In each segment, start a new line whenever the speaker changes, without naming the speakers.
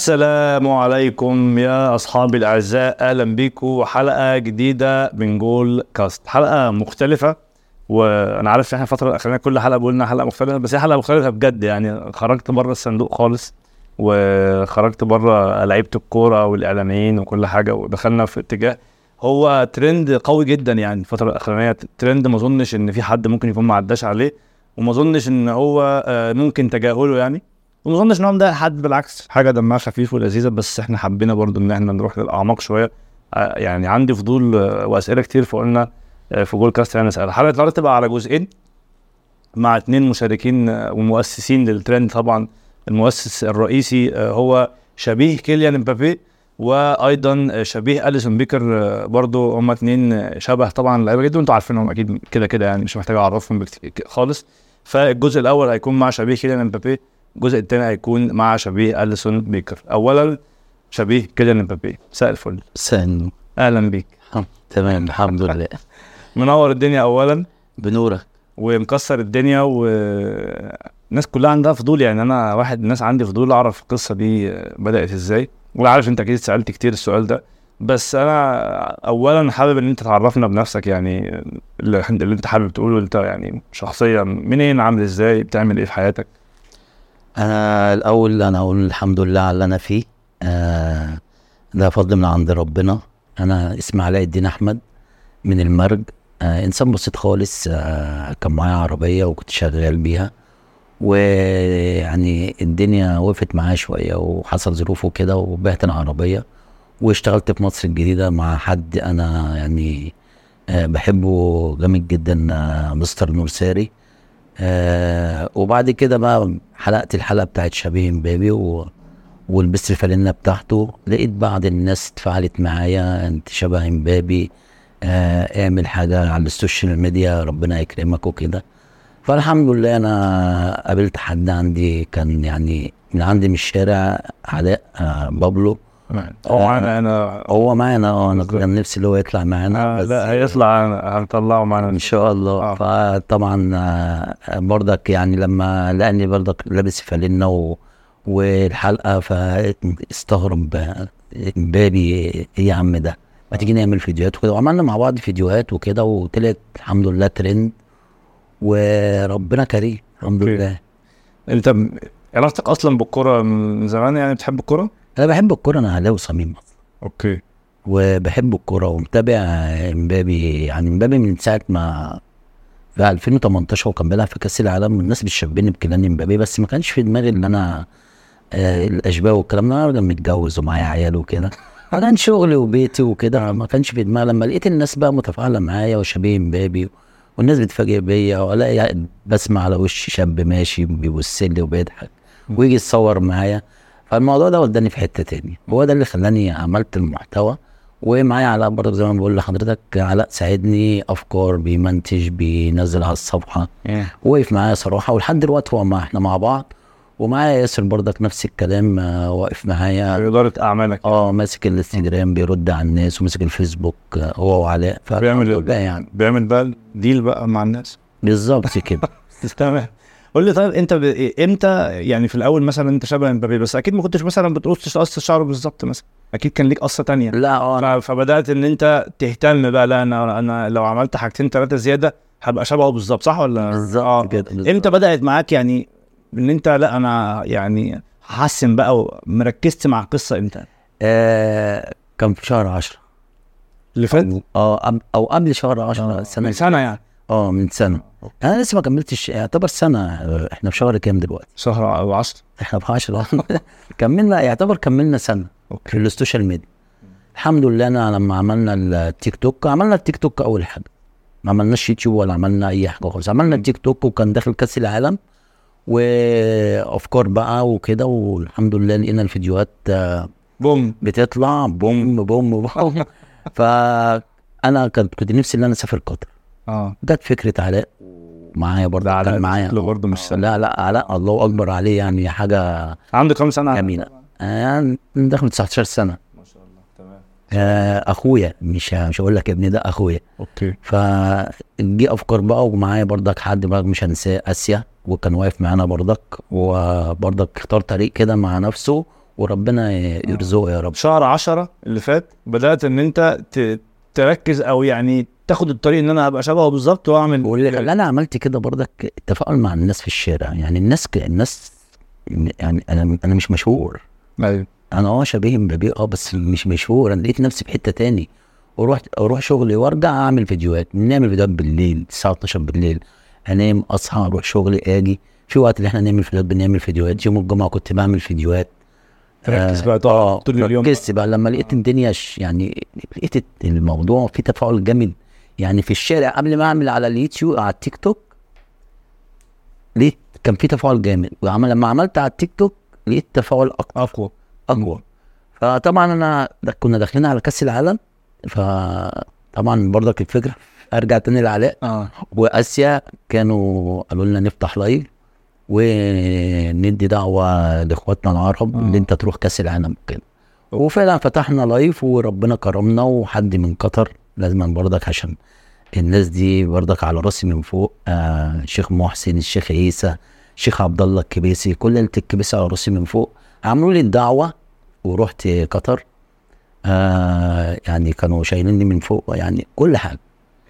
السلام عليكم يا اصحابي الاعزاء اهلا بيكم وحلقه جديده من جول كاست حلقه مختلفه وانا عارف ان احنا الفتره الاخيره كل حلقه بقولنا حلقه مختلفه بس هي حلقه مختلفه بجد يعني خرجت بره الصندوق خالص وخرجت بره لعيبه الكوره والاعلاميين وكل حاجه ودخلنا في اتجاه هو ترند قوي جدا يعني الفتره الاخرانيه ترند ما اظنش ان في حد ممكن يكون ما عداش عليه وما اظنش ان هو آه، ممكن تجاهله يعني وما اظنش ان هو مضايق حد بالعكس حاجه دمها خفيف ولذيذه بس احنا حبينا برضو ان احنا نروح للاعماق شويه آه، يعني عندي فضول آه، واسئله كتير فقلنا آه، في جول كاست يعني نسال الحلقه النهارده تبقى على جزئين مع اتنين مشاركين آه، ومؤسسين للترند طبعا المؤسس الرئيسي آه، هو شبيه كيليان امبابي وايضا آه، شبيه اليسون بيكر آه، برضو هما اتنين آه، شبه طبعا لعيبه جدا وانتوا عارفينهم اكيد كده كده يعني مش محتاج اعرفهم بكت- خالص فالجزء الاول هيكون مع شبيه كيليان امبابي الجزء الثاني هيكون مع شبيه اليسون بيكر اولا شبيه كيليان امبابي مساء الفل
سن
اهلا بيك
تمام الحمد لله
منور الدنيا اولا
بنورك
ومكسر الدنيا و الناس كلها عندها فضول يعني انا واحد من الناس عندي فضول اعرف القصه دي بدات ازاي ولا عارف انت اكيد سالت كتير السؤال ده بس انا اولا حابب ان انت تعرفنا بنفسك يعني اللي اللي انت حابب تقوله انت يعني شخصيا منين عامل ازاي بتعمل ايه في حياتك
انا الاول انا اقول الحمد لله على اللي انا فيه آه ده فضل من عند ربنا انا اسمي علاء الدين احمد من المرج آه انسان بسيط خالص آه كان معايا عربيه وكنت شغال بيها ويعني الدنيا وقفت معايا شويه وحصل ظروف وكده وبعت العربيه واشتغلت في مصر الجديده مع حد انا يعني آه بحبه جامد جدا آه مستر نور ساري آه وبعد كده بقى حلقت الحلقه بتاعت شبيه امبابي و... ولبست الفانلة بتاعته لقيت بعض الناس اتفاعلت معايا انت شبه امبابي آه اعمل حاجه على السوشيال ميديا ربنا يكرمك وكده فالحمد لله انا قابلت حد عندي كان يعني من عندي من الشارع علاء آه بابلو
طبعا انا
هو معانا اه انا
بالظبط.
كان نفسي اللي هو يطلع معانا
آه
بس-
لا هيطلع هنطلعه معانا
ان شاء الله
آه.
فطبعا آه، برضك يعني لما لقاني برضك لابس فانلة و... والحلقه فاستغرب آه، بابي ايه يا عم ده ما تيجي نعمل فيديوهات وكده وعملنا مع بعض فيديوهات وكده وطلعت الحمد لله ترند وربنا كريم الحمد
أوكي.
لله
انت م- إيه، علاقتك اصلا بالكوره من زمان يعني بتحب الكوره؟
انا بحب الكوره انا اهلاوي صميم
اوكي
وبحب الكوره ومتابع امبابي يعني امبابي من ساعه ما في 2018 وكان بيلعب في كاس العالم والناس بتشبهني بكيليان امبابي بس ما كانش في دماغي ان انا آه الاشباه والكلام ده انا لما متجوز ومعايا عيال وكده كان شغلي وبيتي وكده ما كانش في دماغي لما لقيت الناس بقى متفاعله معايا وشبيه امبابي والناس بتفاجئ بيا والاقي بسمع على وش شاب ماشي بيبص لي وبيضحك ويجي يتصور معايا فالموضوع ده وداني في حته تاني هو ده اللي خلاني عملت المحتوى ومعايا علاء برضه زي ما بقول لحضرتك علاء ساعدني افكار بيمنتج بينزل على الصفحه
إيه.
وقف معايا صراحه ولحد دلوقتي هو مع احنا مع بعض ومعايا ياسر برضك نفس الكلام آه، واقف معايا
في اداره اعمالك
اه ماسك الانستجرام بيرد على الناس وماسك الفيسبوك آه، هو وعلاء ف-
بيعمل
لا يعني
بيعمل بقى ديل بقى مع الناس
بالظبط كده
تمام قول لي طيب انت ب... امتى يعني في الاول مثلا انت شبه امبابي بس اكيد ما كنتش مثلا بتقص قص شعره بالظبط مثلا اكيد كان ليك قصه تانية
لا اه
ف...
أنا-
فبدات ان انت تهتم بقى لا انا انا لو عملت حاجتين ثلاثه زياده هبقى شبهه بالظبط صح ولا آه.
بالظبط كده بالظبط.
امتى بدات معاك يعني ان انت لا انا يعني هحسن بقى ومركزت مع القصه امتى؟
آه كان في شهر 10
اللي فات
اه أم- او قبل شهر 10
من
سنه
سنه يعني
اه من سنه انا لسه ما كملتش يعتبر سنه آه، احنا في شهر كام دلوقتي
شهر او عشر
احنا في 10 كملنا يعتبر كملنا سنه في
اوكي
السوشيال ميديا الحمد لله انا لما عملنا التيك توك عملنا التيك توك اول حاجه ما عملناش يوتيوب ولا عملنا اي حاجه خالص عملنا التيك توك وكان داخل كاس العالم وافكار بقى وكده والحمد لله لقينا الفيديوهات آه،
بوم
بتطلع بوم بوم بوم فانا كنت كنت نفسي ان انا اسافر قطر
اه
جت فكره علاء ومعايا برضه
ده علاء
كان معايا
شكله برضه مش سهل.
لا لا علاء الله اكبر عليه يعني حاجه
عنده كام سنه؟
جميله يعني داخل 19 سنه
ما شاء الله تمام
آه، اخويا مش مش هقول لك ابني ده اخويا
اوكي
فجي افكار بقى ومعايا برضك حد بقى مش هنساه اسيا وكان واقف معانا برضك وبرضك اختار طريق كده مع نفسه وربنا يرزقه يا رب
شهر 10 اللي فات بدات ان انت ت- تركز او يعني تاخد الطريق ان انا هبقى شبهه بالظبط واعمل
واللي انا عملت كده برضك التفاعل مع الناس في الشارع يعني الناس ك... الناس يعني انا انا مش مشهور
ايوه
انا اه شبيه مبابي اه بس مش مشهور انا لقيت نفسي في حته تاني واروح اروح شغلي وارجع اعمل فيديوهات نعمل فيديوهات بالليل الساعه 12 بالليل انام اصحى اروح شغلي اجي في وقت اللي احنا نعمل فيديوهات بنعمل فيديوهات يوم الجمعه كنت بعمل فيديوهات
تركز بقى تقعد
اه
طول اليوم
ركزت بقى لما لقيت الدنيا ش- يعني لقيت الموضوع فيه تفاعل جامد يعني في الشارع قبل ما اعمل على اليوتيوب على التيك توك لقيت كان في تفاعل جامد وعمل لما عملت على التيك توك لقيت تفاعل أك-
اقوى
اقوى فطبعا انا ده كنا داخلين على كاس العالم فطبعا برضك الفكره ارجع تاني لعلاء
اه
واسيا كانوا قالوا لنا نفتح لايف وندي دعوه لاخواتنا العرب
آه.
ان انت تروح كاس العالم كده
أوكي.
وفعلا فتحنا لايف وربنا كرمنا وحد من قطر لازم برضك عشان الناس دي برضك على راسي من فوق آه الشيخ محسن الشيخ عيسى الشيخ عبد الله الكبيسي كل عيله الكبيسي على راسي من فوق عملوا لي الدعوه ورحت قطر آه يعني كانوا شايليني من فوق يعني كل حاجه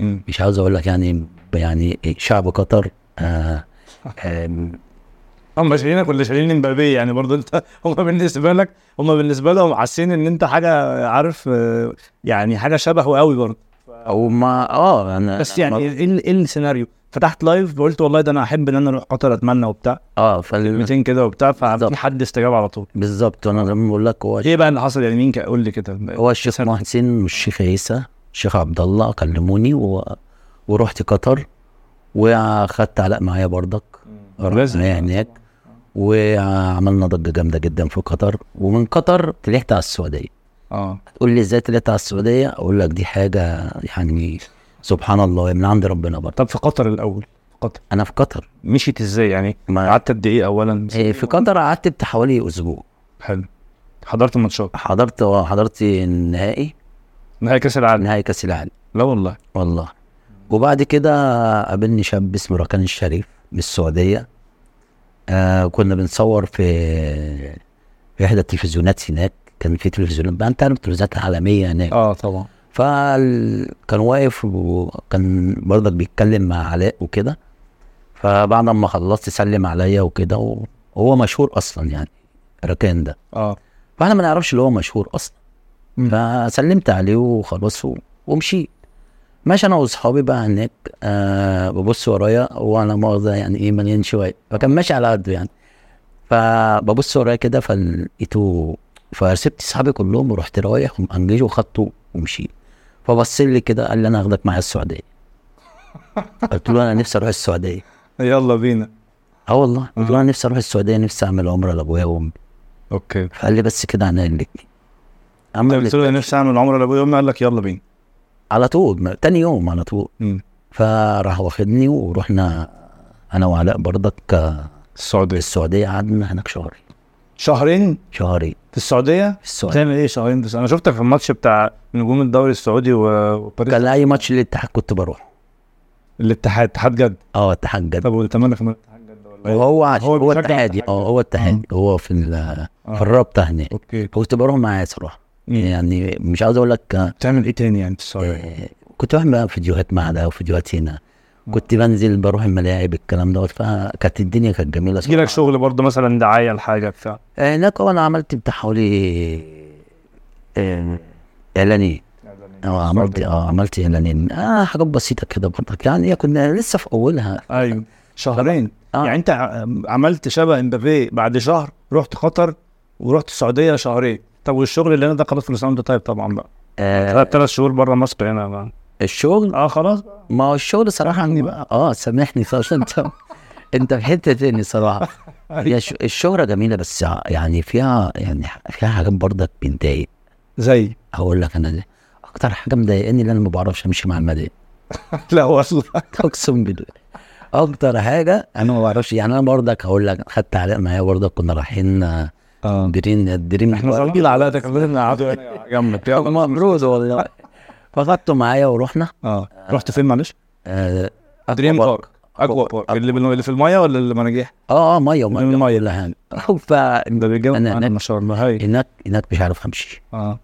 أمم.
مش عاوز اقول لك يعني يعني شعب قطر آه آم،
هم شايلينك ولا شايلين امبابي يعني برضه انت هم بالنسبه لك هم بالنسبه لهم حاسين ان انت حاجه عارف آه، يعني حاجه شبهه قوي برضه
او ما اه انا
بس يعني ايه ال- ايه السيناريو فتحت لايف وقلت والله ده انا احب ان انا اروح قطر اتمنى وبتاع
اه فال-
200 كده وبتاع
بالظبط.
ففي حد استجاب على طول
بالظبط انا لما بقول لك هو
ايه بقى اللي حصل يعني مين كان- قول لي كده
هو الشيخ
سنة.
محسن والشيخ عيسى الشيخ عبد الله كلموني و... ورحت قطر واخدت علاء معايا برضك رحت
لازم.
معايا هناك وعملنا ضجه جامده جدا في قطر ومن قطر طلعت على السعوديه
اه
تقول لي ازاي طلعت على السعوديه اقول لك دي حاجه يعني سبحان الله من عند ربنا برضه
طب في قطر الاول في قطر
انا في قطر
مشيت ازاي يعني
ما
قعدت قد ايه اولا
إيه، في قطر قعدت بتاع حوالي اسبوع
حلو حضرت الماتشات
حضرت آه، حضرت النهائي
نهائي كاس العالم
نهائي كاس العالم
لا والله
والله وبعد كده قابلني شاب اسمه ركان الشريف من السعوديه آه كنا بنصور في في احدى التلفزيونات هناك كان في تلفزيونات بقى انت عارف التلفزيونات العالميه هناك
اه طبعا
فكان واقف وكان برضك بيتكلم مع علاء وكده فبعد ما خلصت سلم عليا وكده وهو مشهور اصلا يعني ركان ده
اه
فاحنا ما نعرفش اللي هو مشهور اصلا
مم.
فسلمت عليه وخلاص و- ومشيت ماشي انا واصحابي بقى هناك آه ببص ورايا وانا مؤاخذه يعني ايه مليان شويه فكان ماشي على قده يعني فببص ورايا كده فلقيته فسبت اصحابي كلهم ورحت رايح ومأنجيش وخدته ومشيت فبص لي كده قال لي انا هاخدك معايا السعوديه قلت له انا نفسي اروح السعوديه
يلا بينا
اه والله قلت له انا نفسي اروح السعوديه نفسي اعمل عمره لابويا وامي
اوكي
فقال لي بس كده عينيا الاتنين عمل
قلت له نفسي اعمل عمره لابويا وامي قال لك يلا بينا
على طول ما- تاني يوم على طول
مم.
فراح واخدني ورحنا انا وعلاء برضك آه،
السعوديه
السعوديه قعدنا هناك شهر
شهرين
شهرين
في السعوديه
في السعوديه
بتعمل ايه شهرين بس انا شفتك في الماتش بتاع نجوم الدوري السعودي و- وباريس
كان اي ماتش للاتحاد كنت بروح
الاتحاد اتحاد جد
اه اتحاد جد
طب والتمنى كمان الاتحاد جد ولا إيه؟
وهو عش...
هو
هو, هو
بيشجع
اتحادي
الاتحاد
اه
جد.
هو اتحادي هو في ال... في
آه.
الرابطه هناك
اوكي
كنت بروح معاه صراحه
مم.
يعني مش عاوز اقول لك آه،
بتعمل ايه تاني يعني في السعوديه
آه، كنت بعمل بقى فيديوهات مع ده وفيديوهات هنا كنت بنزل بروح الملاعب الكلام دوت فكانت الدنيا كانت جميله
يجي لك شغل برضه مثلا دعايه لحاجه بتاع
هناك انا عملت بتاع حوالي آه، اعلانين اه عملت اه عملت اعلانين اه حاجات بسيطه كده برضك يعني هي كنا لسه في اولها
ايوه شهرين
آه.
يعني انت ع- عملت شبه امبابي بعد شهر رحت قطر ورحت السعوديه شهرين طب والشغل اللي انا ده خلاص كل سنه وانت طيب طبعا بقى
آه
ثلاث ثلاث شهور بره مصر هنا بقى.
الشغل
اه خلاص بقى.
ما هو الشغل صراحه
سامحني
عندي
بقى.
بقى اه سامحني صراحه انت انت في حته تاني صراحه هي الش- الشهره جميله بس ع- يعني فيها يعني ح- فيها حاجات برضك بتضايق
زي
هقول لك انا ده اكتر حاجه مضايقاني اللي انا ما بعرفش امشي مع المدام
لا والله
اقسم بالله اكتر حاجه انا ما بعرفش يعني انا برضك هقول لك خدت علاء معايا برضك كنا رايحين آه،
اه
درين الدريم
احنا ظالمين على ده كان لازم نقعدوا هنا جنبك يلا.
مبروز والله فاخدته معايا ورحنا
اه رحت فين معلش
آه،
دريم
أكوا بارك.
بارك اكوا
أكوا.
اللي بال- اللي في الميه ولا اللي مناجيح؟
اه اه ميه وميه
المية.
كل حاجه فهناك
ده بيجمع
أنا- أنا-
ما شاء الله هاي
هناك مش عارف امشي
اه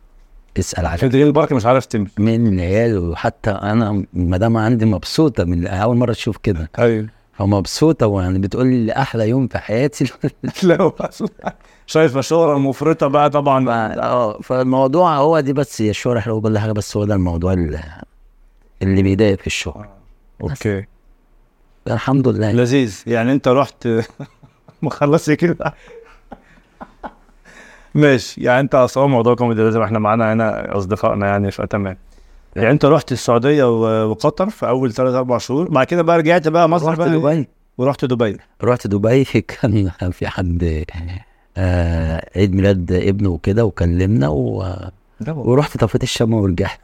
اسال عشان
عشان تجيب البركه مش عارف تمشي
من العيال وحتى انا المدام عندي مبسوطه من اول مره تشوف كده
ايوه
فمبسوطه ويعني بتقول لي احلى يوم في حياتي
لا هو شايف الشهره المفرطه بقى
ف-
طبعا
اه فالموضوع هو دي بس هي الشهرة حلوة وكل حاجة بس هو ده الموضوع اللي, اللي بيضايق في الشهرة
اوكي
الحمد لله
لذيذ يعني انت رحت مخلص كده ماشي يعني انت اصلا موضوع كوميدي لازم احنا معانا هنا اصدقائنا يعني فتمام يعني انت رحت السعوديه و- وقطر في اول ثلاث اربع شهور بعد كده بقى رجعت بقى مصر
رحت
بقى
دبي
ورحت دبي
رحت دبي كان في حد آه عيد ميلاد ابنه وكده وكلمنا و... ورحت طفيت الشمع ورجعت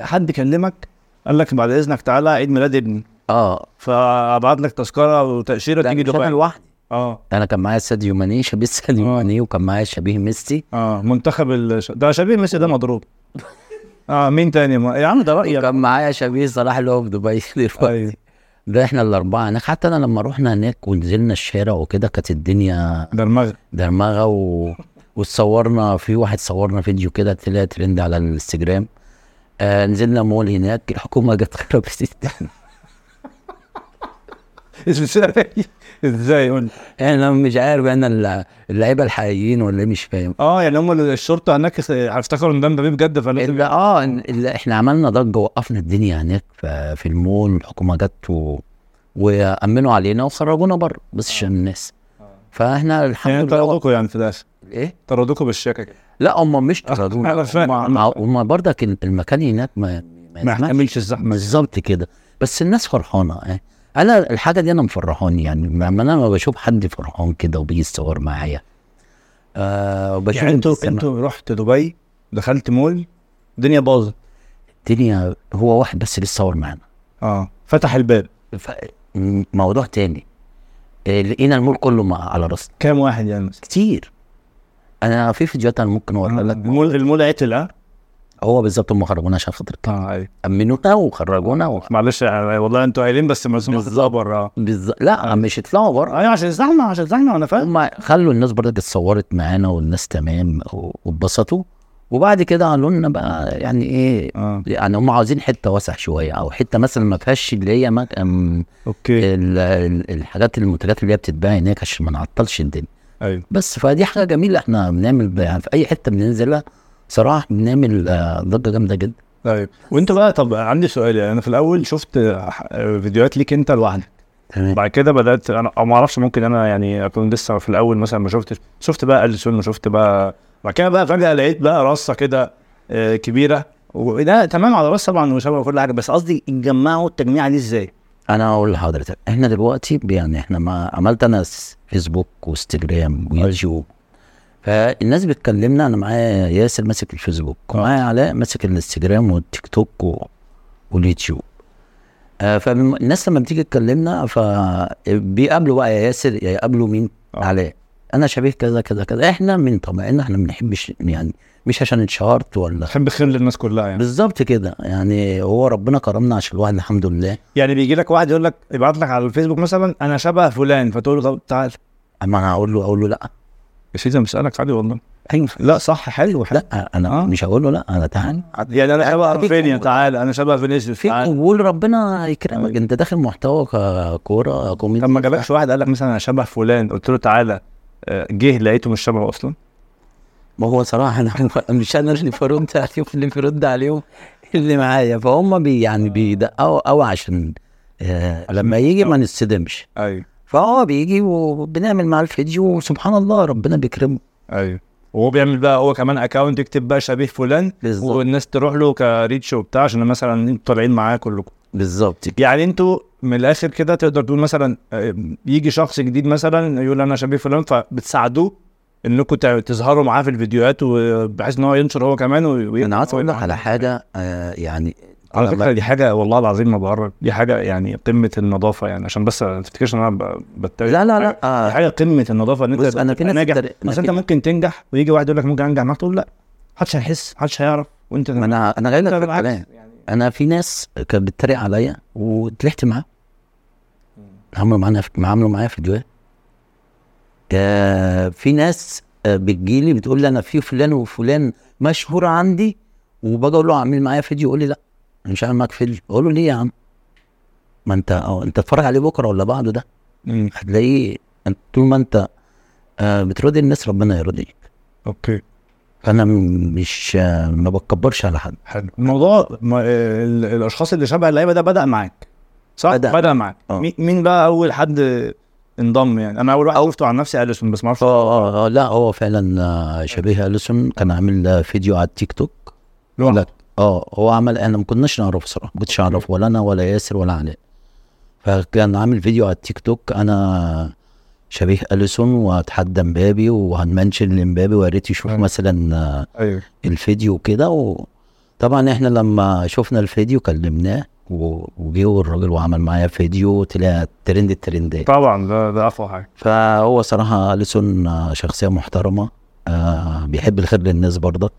حد كلمك قال لك بعد اذنك تعالى عيد ميلاد ابني
اه
فابعت لك تذكره وتاشيره
لا،
تيجي
مش انا
دبي
لوحدي
اه
انا كان معايا ساديو ماني شبيه ساديو
آه.
ماني وكان معايا شبيه ميسي
اه منتخب الش... ده شبيه ميسي ده مضروب اه مين تاني ما... يا عم ده رايك
وكان معايا شبيه صلاح اللي هو في دبي دلوقتي
أيوه.
ده احنا الاربعه هناك حتى انا لما رحنا هناك ونزلنا الشارع وكده كانت الدنيا
ده المغرب
درمغه و... وتصورنا في واحد صورنا فيديو كده طلع ترند على الانستجرام آه نزلنا مول هناك الحكومه جت خربت الدنيا.
ازاي ازاي قول لي؟
انا مش عارف انا الل- اللعيبه الحقيقيين ولا إيه مش فاهم
اه يعني هم الشرطه هناك خ- يعني افتكروا ان ده مبابي بجد فلازم
اللي اه اللي احنا عملنا ضجه وقفنا الدنيا هناك ف- في المول الحكومه جت و... وامنوا علينا وخرجونا بره بس عشان الناس فاحنا
يعني
الحمد لله
طردوكوا يعني في الاخر
ايه
طردوكوا بالشياكه كده
لا هم مش
أنا
طردونا
فاهم.
هم برضك ال- المكان هناك ما
ما
يسمحش.
يحتملش الزحمة.
بالظبط كده بس الناس فرحانه اه انا الحاجه دي انا مفرحاني يعني لما انا لما بشوف حد فرحان كده وبيجي يتصور معايا آه وبشوف
يعني انتوا
السما-
انتوا رحت دبي دخلت مول الدنيا باظت
الدنيا هو واحد بس اللي اتصور معانا آه.
اه فتح الباب
ف... م- موضوع تاني آه، لقينا المول كله مع- على راسنا
كام واحد يعني مثلا
كتير انا في فيديوهات انا ممكن اوريها لك
المول المول عتل اه
هو بالظبط هم خرجونا عشان خاطر كده.
اه أيوة.
امنونا وخرجونا و...
معلش يعني والله انتوا قايلين بس معزومات تطلع بره اه
بالز... لا مش يطلعوا بره
ايوه عشان الزحمه عشان الزحمه انا فاهم
هم خلوا الناس برضك اتصورت معانا والناس تمام و- واتبسطوا وبعد كده قالوا لنا بقى يعني ايه
اه
يعني هم عاوزين حته واسع شويه او حته مثلا ما فيهاش اللي هي مك... أم...
اوكي
ال... ال- الحاجات المنتجات اللي هي بتتباع هناك عشان ما نعطلش الدنيا
ايوه
بس فدي حاجه جميله احنا بنعمل ب- يعني في اي حته بننزلها صراحه بنعمل آه، ضجه جامده جدا
طيب وانت بقى طب عندي سؤال يعني انا في الاول شفت آه، فيديوهات ليك انت لوحدك
تمام
بعد كده بدات انا أو ما اعرفش ممكن انا يعني اكون لسه في الاول مثلا ما شفتش شفت بقى اليسون وشفت بقى بعد كده بقى فجاه لقيت بقى رصه كده آه، كبيره وده تمام على راس طبعا وشبه كل حاجه بس قصدي اتجمعوا التجميعه دي ازاي؟
انا اقول لحضرتك احنا دلوقتي يعني احنا ما عملت انا س- فيسبوك وانستجرام ويوتيوب فالناس بتكلمنا انا معايا ياسر ماسك الفيسبوك ومعايا علاء ماسك الانستجرام والتيك توك و... واليوتيوب آه فالناس لما بتيجي تكلمنا فبيقابلوا بقى يا ياسر يا يقابلوا مين
آه.
علاء انا شبيه كذا كذا كذا احنا من طبعنا احنا ما بنحبش يعني مش عشان اتشهرت ولا
عشان بخير للناس كلها يعني
بالظبط كده يعني هو ربنا كرمنا عشان الواحد الحمد لله
يعني بيجي لك واحد يقول لك يبعت لك على الفيسبوك مثلا انا شبه فلان فتقول له طب تعال
اما انا اقول له اقول له لا
يا سيدي انا بسالك عادي والله
ايوه
لا صح حلو حلو
لا انا
آه.
آه. مش هقول له لا انا تعال
يعني انا شبه
في
رافينيا
قوة.
تعال انا شبه فينيسيوس
في
تعال
قبول ربنا يكرمك انت داخل محتوى ك- كوره
آه. طب
كوميدي
ما جالكش واحد قال لك مثلا انا شبه فلان قلت له تعالى آه، جه لقيته مش شبهه اصلا
ما هو صراحه انا مش انا اللي برد عليهم اللي برد عليهم اللي معايا فهم بي يعني بيدققوا قوي عشان آه لما يجي ما نتصدمش
ايوه
فهو بيجي وبنعمل معاه الفيديو وسبحان الله ربنا بيكرمه أيوه.
ايوه وهو بيعمل بقى هو كمان اكونت يكتب بقى شبيه فلان
بالظبط
والناس تروح له كريتش وبتاع عشان مثلا انتوا طالعين معاه كلكم
بالظبط كده.
يعني انتوا من الاخر كده تقدر تقول مثلا آه، يجي شخص جديد مثلا يقول انا شبيه فلان فبتساعدوه انكم تع- تظهروا معاه في الفيديوهات وبحيث ان هو ينشر هو كمان وي- وي-
انا عايز اقول لك على حاجه آه يعني
على
لما-
فكره دي حاجه والله العظيم ما بهرج دي حاجه يعني قمه النظافه يعني عشان بس ما تفتكرش ان انا ب- بتريق
لا لا لا
دي
آه
حاجه قمه النظافه ان انت
بص انا في
تبقى
ناس
ناجح
بتريق- أنا
بس
في-
انت ممكن تنجح ويجي واحد يقول لك ممكن انجح معاك تقول لا محدش هيحس محدش هيعرف وانت
ما
تمام.
انا انا جاي لك
انت
في
بالعكس
الكلام
يعني
انا في ناس كانت بتتريق عليا وطلعت معاه عملوا معانا عملوا معايا فيديوهات آه، في ناس آه، بتجيلي بتقول لي انا في فلان وفلان مشهور عندي وباجي اقول له عامل معايا فيديو يقول لي لا أنا مش عامل معاك فيديو اقول له ليه يا عم ما انت أو انت اتفرج عليه بكره ولا بعده ده
مم.
هتلاقيه أنت طول ما انت آه، بتراضي الناس ربنا يرضيك
اوكي
فانا م- مش آه، ما بتكبرش على حد
حلو الموضوع ما ال- الاشخاص اللي شبه اللعيبه ده بدا معاك صح
بدأ.
بدا معاك
آه.
مي- مين بقى اول حد انضم يعني انا اول واحد شفته عن نفسي اليسون بس ما اعرفش
اه اه اه لا هو فعلا آه، شبيه اليسون كان عامل آه، فيديو على التيك توك
لوحده.
لا اه هو عمل انا ما كناش نعرفه صراحه ما كنتش اعرف ولا انا ولا ياسر ولا علاء فكان عامل فيديو على التيك توك انا شبيه اليسون وهتحدى مبابي وهنمنشن لمبابي ويا ريت يشوف
حلو.
مثلا آه،
ايوه
الفيديو كده وطبعا احنا لما شفنا الفيديو كلمناه و- وجه الراجل وعمل معايا فيديو طلع ترند الترندات
طبعا ده ده اقوى حاجه
فهو صراحة أليسون آه، شخصية محترمة آه بيحب الخير للناس برضك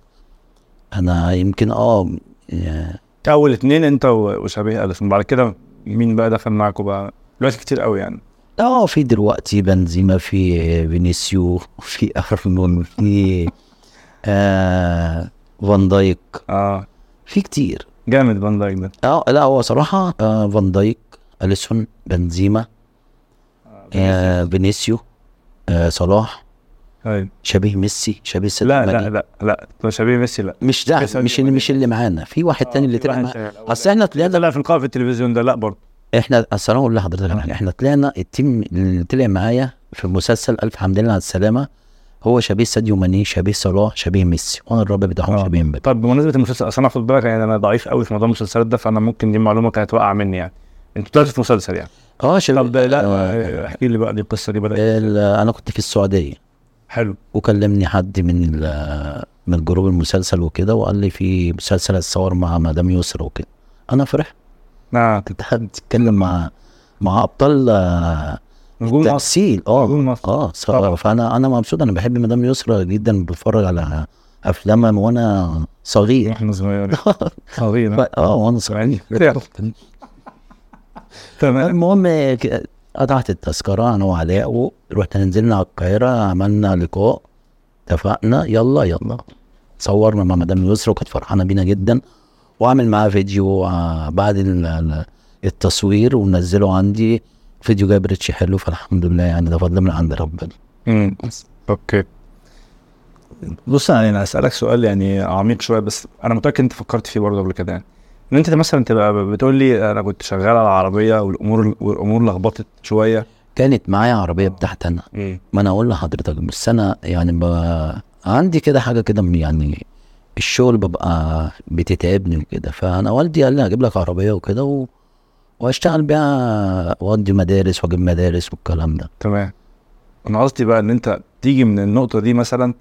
أنا يمكن آه آه،
اول اتنين انت و- وشبيه اليسون بعد كده مين بقى دخل معاكوا بقى دلوقتي كتير قوي يعني
آه في دلوقتي بنزيما في فينيسيو في أرنولد في آه فان دايك
اه
في كتير
جامد فان دايك ده
آه لا هو صراحة آه فان دايك أليسون بنزيما آه فينيسيو آه صلاح
ايوه
شبيه ميسي شبيه سيد
لا لا لا لا ده شبيه ميسي لا
مش ده
بس- آه،
مش اللي مش اللي معانا في واحد تاني اللي
في
طلع
واحد
معانا
تاني.
اصل احنا طلعنا
لا في القاعه في التلفزيون ده لا برضه
احنا اصل انا اقول لحضرتك على حاجة. احنا طلعنا التيم اللي طلع معايا في مسلسل الف حمد لله على السلامه هو شبيه ساديو ماني شبيه صلاح شبيه ميسي وانا الرابع بتاعهم
آه.
شبيه مبابي
طب بمناسبه المسلسل اصل انا خد بالك يعني انا ضعيف قوي في موضوع المسلسلات ده فانا ممكن دي معلومه كانت واقعه مني يعني انتوا طلعتوا في مسلسل يعني
اه شبيه
طب لا
آه.
آه، احكي لي بقى دي القصه دي بدات
ال- انا كنت في السعوديه
حلو
وكلمني حد من ال- من جروب المسلسل وكده وقال لي في مسلسل هتصور مع مدام يسرا وكده انا فرحت
نعم
انت بتتكلم مع مع ابطال آه،
نجوم مصر
تمثيل اه
نجوم مصر
اه ص-
طبعا.
فانا انا مبسوط انا بحب مدام يسرا جدا بتفرج على افلامها من وانا صغير
واحنا صغيرين صغيرين
ف- اه وانا صغير
تمام
المهم ك- قطعت التذكره انا وعلاء ورحت نزلنا على القاهره عملنا لقاء اتفقنا يلا يلا صورنا مع مدام يسرا وكانت فرحانه بينا جدا وعامل معاها فيديو آه، بعد ال- ال- التصوير ونزله عندي فيديو جاب ريتش حلو فالحمد لله يعني ده فضل من عند ربنا
مم. اوكي بص يعني انا اسالك سؤال يعني عميق شويه بس انا متاكد انت فكرت فيه برضه قبل كده يعني ان انت مثلا تبقى بتقول لي انا كنت شغال على العربيه والامور والامور لخبطت شويه
كانت معايا عربيه بتاعتي انا ما انا اقول لحضرتك بس انا يعني ب... عندي كده حاجه كده من- يعني الشغل ببقى بتتعبني وكده فانا والدي قال لي هجيب لك عربيه وكده و... واشتغل بيها واودي مدارس واجيب مدارس والكلام ده
تمام انا قصدي بقى ان انت تيجي من النقطه دي مثلا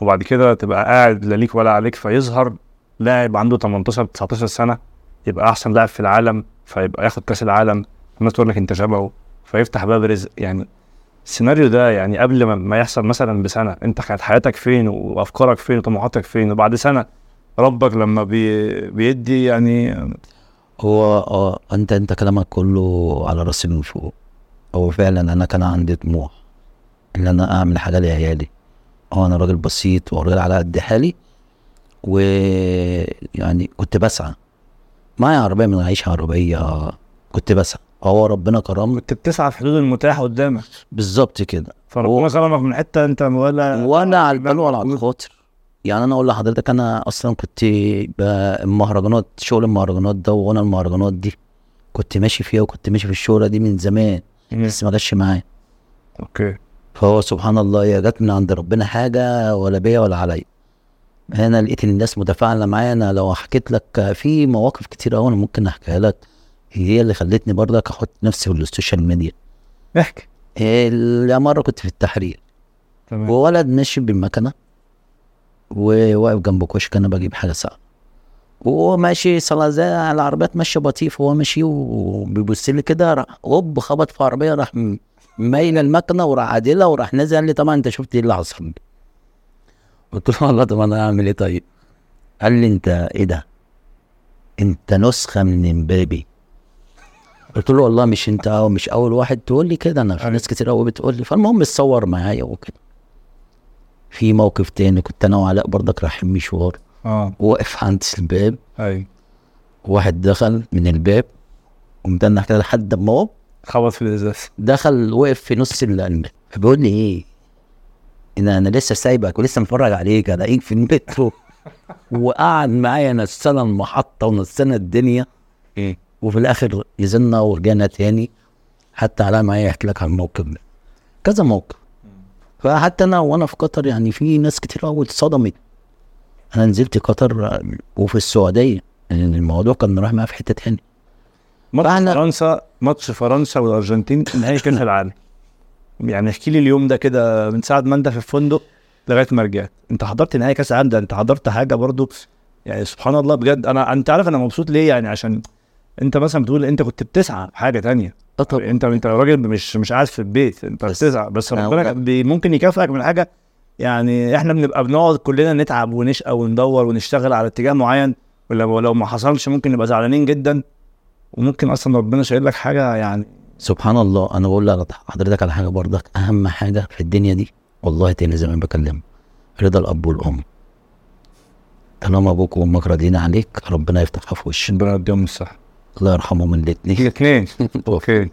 وبعد كده تبقى قاعد لا ليك ولا عليك فيظهر لاعب عنده 18 19 سنه يبقى احسن لاعب في العالم فيبقى ياخد كاس العالم الناس تقول لك انت شبهه فيفتح باب رزق يعني السيناريو ده يعني قبل ما, ما يحصل مثلا بسنه انت كانت حياتك فين وافكارك فين وطموحاتك فين وبعد سنه ربك لما بي بيدي يعني
هو اه انت انت كلامك كله على راسي من فوق هو فعلا انا كان عندي طموح ان انا اعمل حاجه لعيالي اه انا راجل بسيط وراجل على قد حالي ويعني كنت بسعى معايا عربيه من عيش عربيه كنت بسعى آه، هو ربنا كرمني
كنت بتسعى في حدود المتاح قدامك
بالظبط كده
فربنا كرمك من حته انت ولا
وانا على
آه،
البال ولا على الخاطر يعني انا اقول لحضرتك انا اصلا كنت ب- المهرجانات شغل المهرجانات ده وانا المهرجانات دي كنت ماشي فيها وكنت ماشي في الشهرة دي من زمان
إيه،
بس ما جاتش معايا
اوكي
فهو سبحان الله يا جت من عند ربنا حاجه ولا بيا ولا عليا انا لقيت الناس متفاعله معايا انا لو حكيت لك في مواقف كتير قوي انا ممكن احكيها لك هي اللي خلتني برضك احط نفسي في السوشيال ميديا
احكي
ال- مره كنت في التحرير
تمام
وولد ماشي بالمكنه وواقف جنب كشك انا بجيب حاجه ساعه وهو ماشي صلاة زي العربيات ماشيه بطيف وهو ماشي وبيبص لي كده راح هوب خبط في عربيه راح م- مايله المكنه وراح عادلها وراح نازل قال لي طبعا انت شفت ايه اللي حصل لي إيه قلت له والله طب انا هعمل ايه طيب قال لي انت ايه ده انت نسخه من امبابي قلت له والله مش انت أو مش اول واحد تقول لي كده انا في
أيوة.
ناس كتير قوي بتقول لي فالمهم اتصور معايا وكده في موقف تاني كنت انا وعلاء برضك رايحين مشوار
اه
واقف عند الباب
ايوه
واحد دخل من الباب ومتنح كده لحد ما هو
خبط في الازاز
دخل وقف في نص الالماني فبيقول لي ايه انا انا لسه سايبك ولسه متفرج عليك الاقيك في المترو وقعد معايا نسانا المحطه ونسانا الدنيا
ايه
وفي الاخر نزلنا ورجعنا تاني حتى علاء معايا يحكي لك عن الموقف ده كذا موقف فحتى انا وانا في قطر يعني في ناس كتير قوي اتصدمت انا نزلت قطر آه، وفي السعوديه يعني الموضوع كان رايح معايا في حته تاني
ماتش
فأنا-
فرنسا ماتش فرنسا والارجنتين نهائي كاس العالم يعني احكي لي اليوم ده كده من ساعه ما انت في الفندق لغايه ما رجعت انت حضرت نهائي كاس العالم ده انت حضرت حاجه برضو يعني سبحان الله بجد انا انت عارف انا مبسوط ليه يعني عشان انت مثلا بتقول انت كنت بتسعى في حاجه تانية
آه طبعاً.
انت انت راجل مش مش قاعد في البيت انت
بس-
بتسعى بس
آه،
ربنا
وده-
بي- ممكن يكافئك من حاجه يعني احنا بنبقى بنقعد كلنا نتعب ونشقى وندور ونشتغل على اتجاه معين ولو لو ما حصلش ممكن نبقى زعلانين جدا وممكن اصلا ربنا شايل لك حاجه يعني
سبحان الله انا بقول لك- حضرتك على حاجه برضك اهم حاجه في الدنيا دي والله تاني زي ما بكلم رضا الاب والام طالما ابوك وامك راضيين عليك ربنا يفتحها في وشك
ربنا يديهم الصحه
الله يرحمهم الاثنين
الاثنين اوكي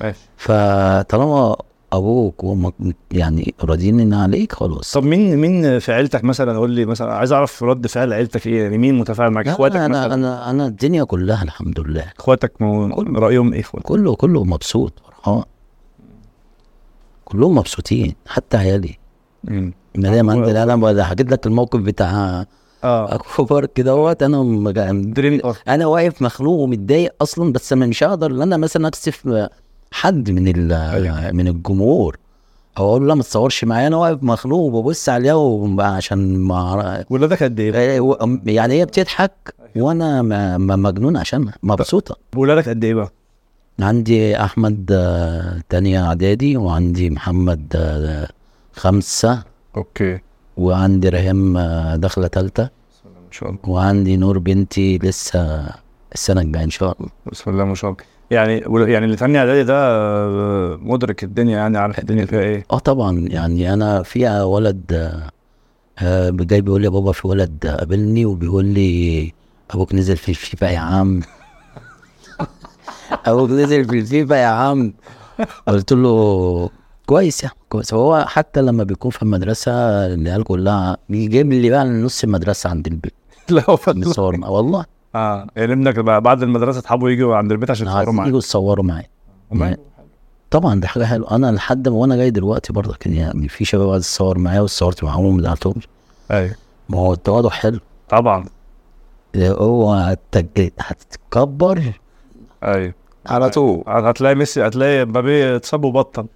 ماشي
فطالما ابوك وامك يعني راضيين عليك خلاص
طب مين مين في عيلتك مثلا قول لي مثلا عايز اعرف رد فعل عيلتك ايه يعني مين متفاعل معاك
لا،
اخواتك
انا
مثلا
انا انا الدنيا كلها الحمد لله
اخواتك مو-
كل-
رايهم ايه اخواتك
كله كله مبسوط فرحان كلهم مبسوطين حتى عيالي
مم.
انا دايما عندي القلم ولا حكيت لك الموقف بتاع
اه
اكبر كده اهوت انا مج-
دريم أوف.
انا يعني واقف مخنوق ومتضايق اصلا بس انا مش هقدر ان انا مثلا اكسف حد من
أيوة.
ال- من الجمهور او اقول له لا ما تصورش معايا انا واقف مخنوق وببص عليها وب- عشان ما أعرف-
ولادك قد ايه؟
يعني هي بتضحك وانا م- م- مجنون عشانها مبسوطه
ولادك قد ايه بقى؟
عندي احمد آه، تانية اعدادي وعندي محمد آه، خمسة
اوكي
وعندي رهام آه، داخلة تالتة
ان شاء الله
وعندي نور بنتي لسه السنة الجاية إن شاء الله
بسم الله ما شاء الله يعني ول- يعني اللي تاني اعدادي ده آه، مدرك الدنيا يعني عارف الدنيا فيها ايه
اه طبعا يعني أنا في ولد آه، آه، جاي بيقول لي يا بابا في ولد قابلني وبيقول لي أبوك نزل في الفيفا يا عم أبوك نزل في الفيفا يا عم قلت له كويس يا عم كويس هو حتى لما بيكون في المدرسة العيال كلها بيجيب لي بقى نص المدرسة عند البيت
لا هو فضل.
نصور معاه. والله
اه يعني ابنك بقى بعد المدرسه اصحابه يجوا عند البيت عشان يتصوروا معاك
يجوا يتصوروا معايا
والله.
طبعا ده حاجه حلوه انا لحد ما وانا جاي دلوقتي برضه كان يعني في شباب عايز تصور معايا واتصورت معاهم لقيتهم
ايوه
ما هو التواضع حلو
طبعا
إيه،
اوعى هتتج- هتتكبر
ايوه
على طول
هتلاقي ميسي هتلاقي مبابي اتصاب وبطل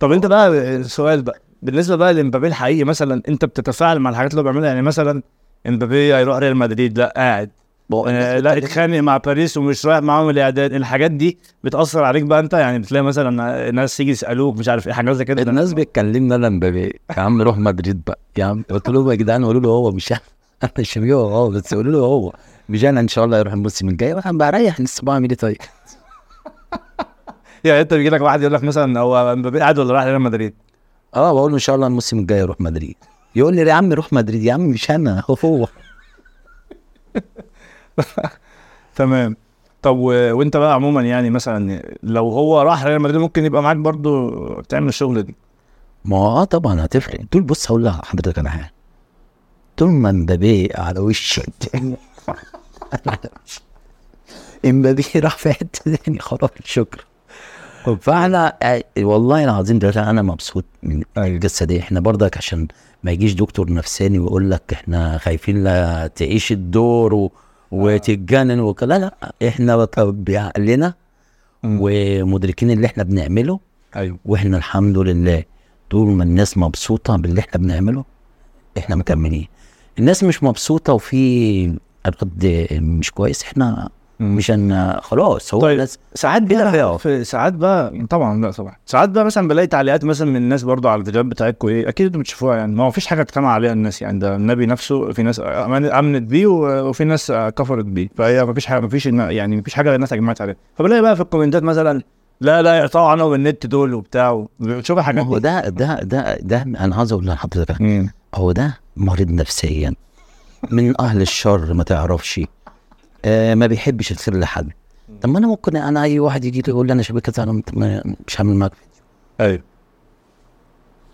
طب انت بقى آه، سؤال بقى بالنسبه بقى لمبابي الحقيقي مثلا انت بتتفاعل مع الحاجات اللي هو بيعملها يعني مثلا امبابي هيروح ريال مدريد لا قاعد آه،
إيه،
لا اتخانق مع باريس ومش رايح معاهم الاعداد الحاجات دي بتاثر عليك بقى انت يعني بتلاقي مثلا ناس تيجي يسالوك مش عارف ايه حاجات زي كده
الناس بتكلمني انا مبابي يا عم روح مدريد بقى يا عم قلت لهم يا جدعان قولوا له هو مش انا أنا مش هجيبه هو آه، بس قولوا له هو مش انا ان شاء الله يروح الموسم الجاي وانا بريح لسه بعمل ايه طيب
يعني انت بيجي لك واحد يقول لك مثلا هو امبابي قاعد ولا رايح ريال مدريد
اه بقول له ان شاء الله الموسم الجاي يروح مدريد يقول لي يا عم روح مدريد يا عم مش انا هو هو
تمام طب و... وانت بقى عموما يعني مثلا لو هو راح ريال مدريد ممكن يبقى معاك برضو تعمل الشغل دي
ما هو اه طبعا هتفرق
آه دول بص هقول لحضرتك على حاجه طول ما مبابي على وش الدنيا امبابي راح في حته تاني خلاص شكرا فاحنا آه، والله العظيم دلوقتي انا مبسوط من القصه دي احنا برضك عشان ما يجيش دكتور نفساني ويقول لك احنا خايفين لا تعيش الدور و... وتتجنن وكده لا لا احنا بط- بعقلنا ومدركين اللي احنا بنعمله
ايوه
واحنا الحمد لله طول ما الناس مبسوطه باللي احنا بنعمله احنا مكملين الناس مش مبسوطه وفي رد مش كويس احنا
مش ان خلاص هو
طيب.
لازم
ساعات
بيلعب
بقى
بيقف.
في ساعات بقى طبعا لا طبعا ساعات بقى مثلا بلاقي تعليقات مثلا من الناس برضو على الفيديوهات بتاعتكم ايه اكيد انتوا بتشوفوها يعني ما هو فيش حاجه تتكلم عليها الناس يعني ده النبي نفسه في ناس آمن- امنت بيه و- وفي ناس آه، كفرت بيه فهي ما فيش حاجه ما فيش يعني ما فيش حاجه الناس اجمعت عليها فبلاقي بقى في الكومنتات مثلا لا لا يقطعوا عنهم النت دول وبتاع بتشوف
ما
الحاجات
هو
دي
ده ده ده ده انا عايز اقول لحضرتك
مم.
هو ده مريض نفسيا من اهل الشر ما تعرفش آه ما بيحبش الخير لحد طب ما انا ممكن انا اي واحد يجي لي يقول لي انا شبكه كذا انا مت- ما- مش هعمل معاك
ايوه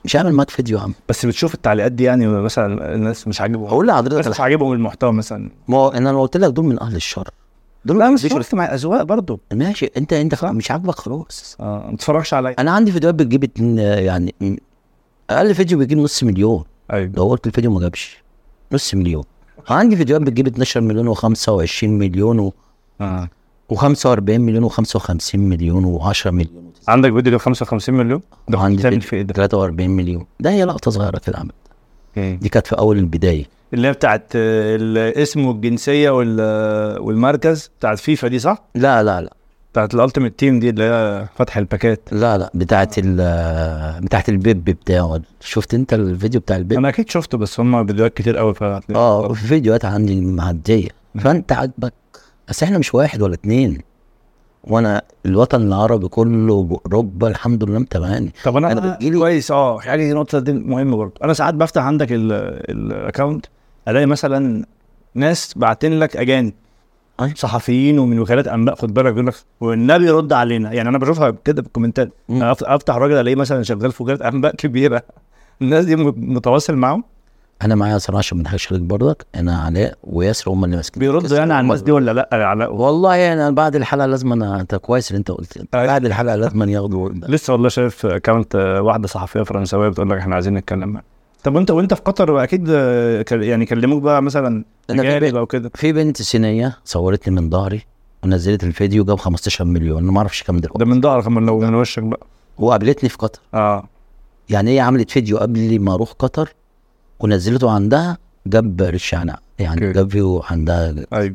مش هعمل معاك فيديو يا عم
بس بتشوف التعليقات دي يعني مثلا الناس مش عاجبهم
هقول
الناس
لحضرتك
مش
الحق.
عاجبهم المحتوى مثلا
ما هو انا لو قلت لك دول من اهل الشر دول
لا
ما
مش
بيحبوش
شرط مع الاذواق برضو
الخير. ماشي انت انت
صح.
مش عاجبك خلاص
اه ما تتفرجش عليا
انا عندي فيديوهات بتجيب اتنين آه، يعني م- اقل فيديو بيجيب نص مليون
ايوه
لو قلت الفيديو ما جابش نص مليون عندي فيديوهات بتجيب 12 مليون و25 مليون و
آه.
و45 مليون و55 مليون و10 مليون
عندك فيديو له 55 مليون ده
وعندي
بتعمل
فيديو
في ايه ده؟
43 مليون ده هي لقطه صغيره كده عملت
اوكي.
دي كانت في اول البدايه
اللي هي بتاعت آه، الاسم والجنسيه وال- والمركز بتاعت فيفا دي صح؟
لا لا لا
بتاعت الالتيميت تيم دي اللي هي فتح الباكات
لا لا بتاعت ال بتاعت البيب بتاعه شفت انت الفيديو بتاع البيب
انا اكيد شفته بس هم فيديوهات كتير قوي فهتلاقي
اه في فيديوهات عندي معديه فانت عاجبك بس احنا مش واحد ولا اتنين وانا الوطن العربي كله باوروبا الحمد لله متابعني
طب انا,
آه. أنا
أنا
بتجيلي-
كويس اه يعني دي نقطه دي مهمه برضه انا ساعات بفتح عندك الاكونت الاقي مثلا ناس باعتين لك اجانب
أي.
صحفيين ومن وكالات انباء خد بالك بيقول لك والنبي رد علينا يعني انا بشوفها كده في الكومنتات
مم.
أف- افتح راجل الاقيه مثلا شغال في وكاله انباء كبيره الناس دي م- متواصل معاهم
انا معايا صراحه عشان ما نضحكش عليك برضك انا علاء وياسر هم اللي ماسكين
بيردوا
القصة.
يعني على
هم
الناس دي ولا لا علاء
والله انا بعد الحلقه لازم انا انت كويس اللي انت قلت
أي.
بعد الحلقه لازم أن ياخدوا
لسه والله شايف اكونت واحده صحفيه فرنساويه بتقول لك احنا عايزين نتكلم معاك طب وانت وانت في قطر اكيد آه، كل- يعني كلموك بقى مثلا
أنا في
اجانب او كده
في بنت صينيه صورتني من ظهري ونزلت الفيديو جاب 15 مليون انا ما اعرفش كام
ده
دلوقتي
من ظهرك من لو من وشك بقى
وقابلتني في قطر
اه
يعني هي عملت فيديو قبل ما اروح قطر ونزلته عندها جاب رشانا يعني
أوكي.
جاب فيو عندها
ايوه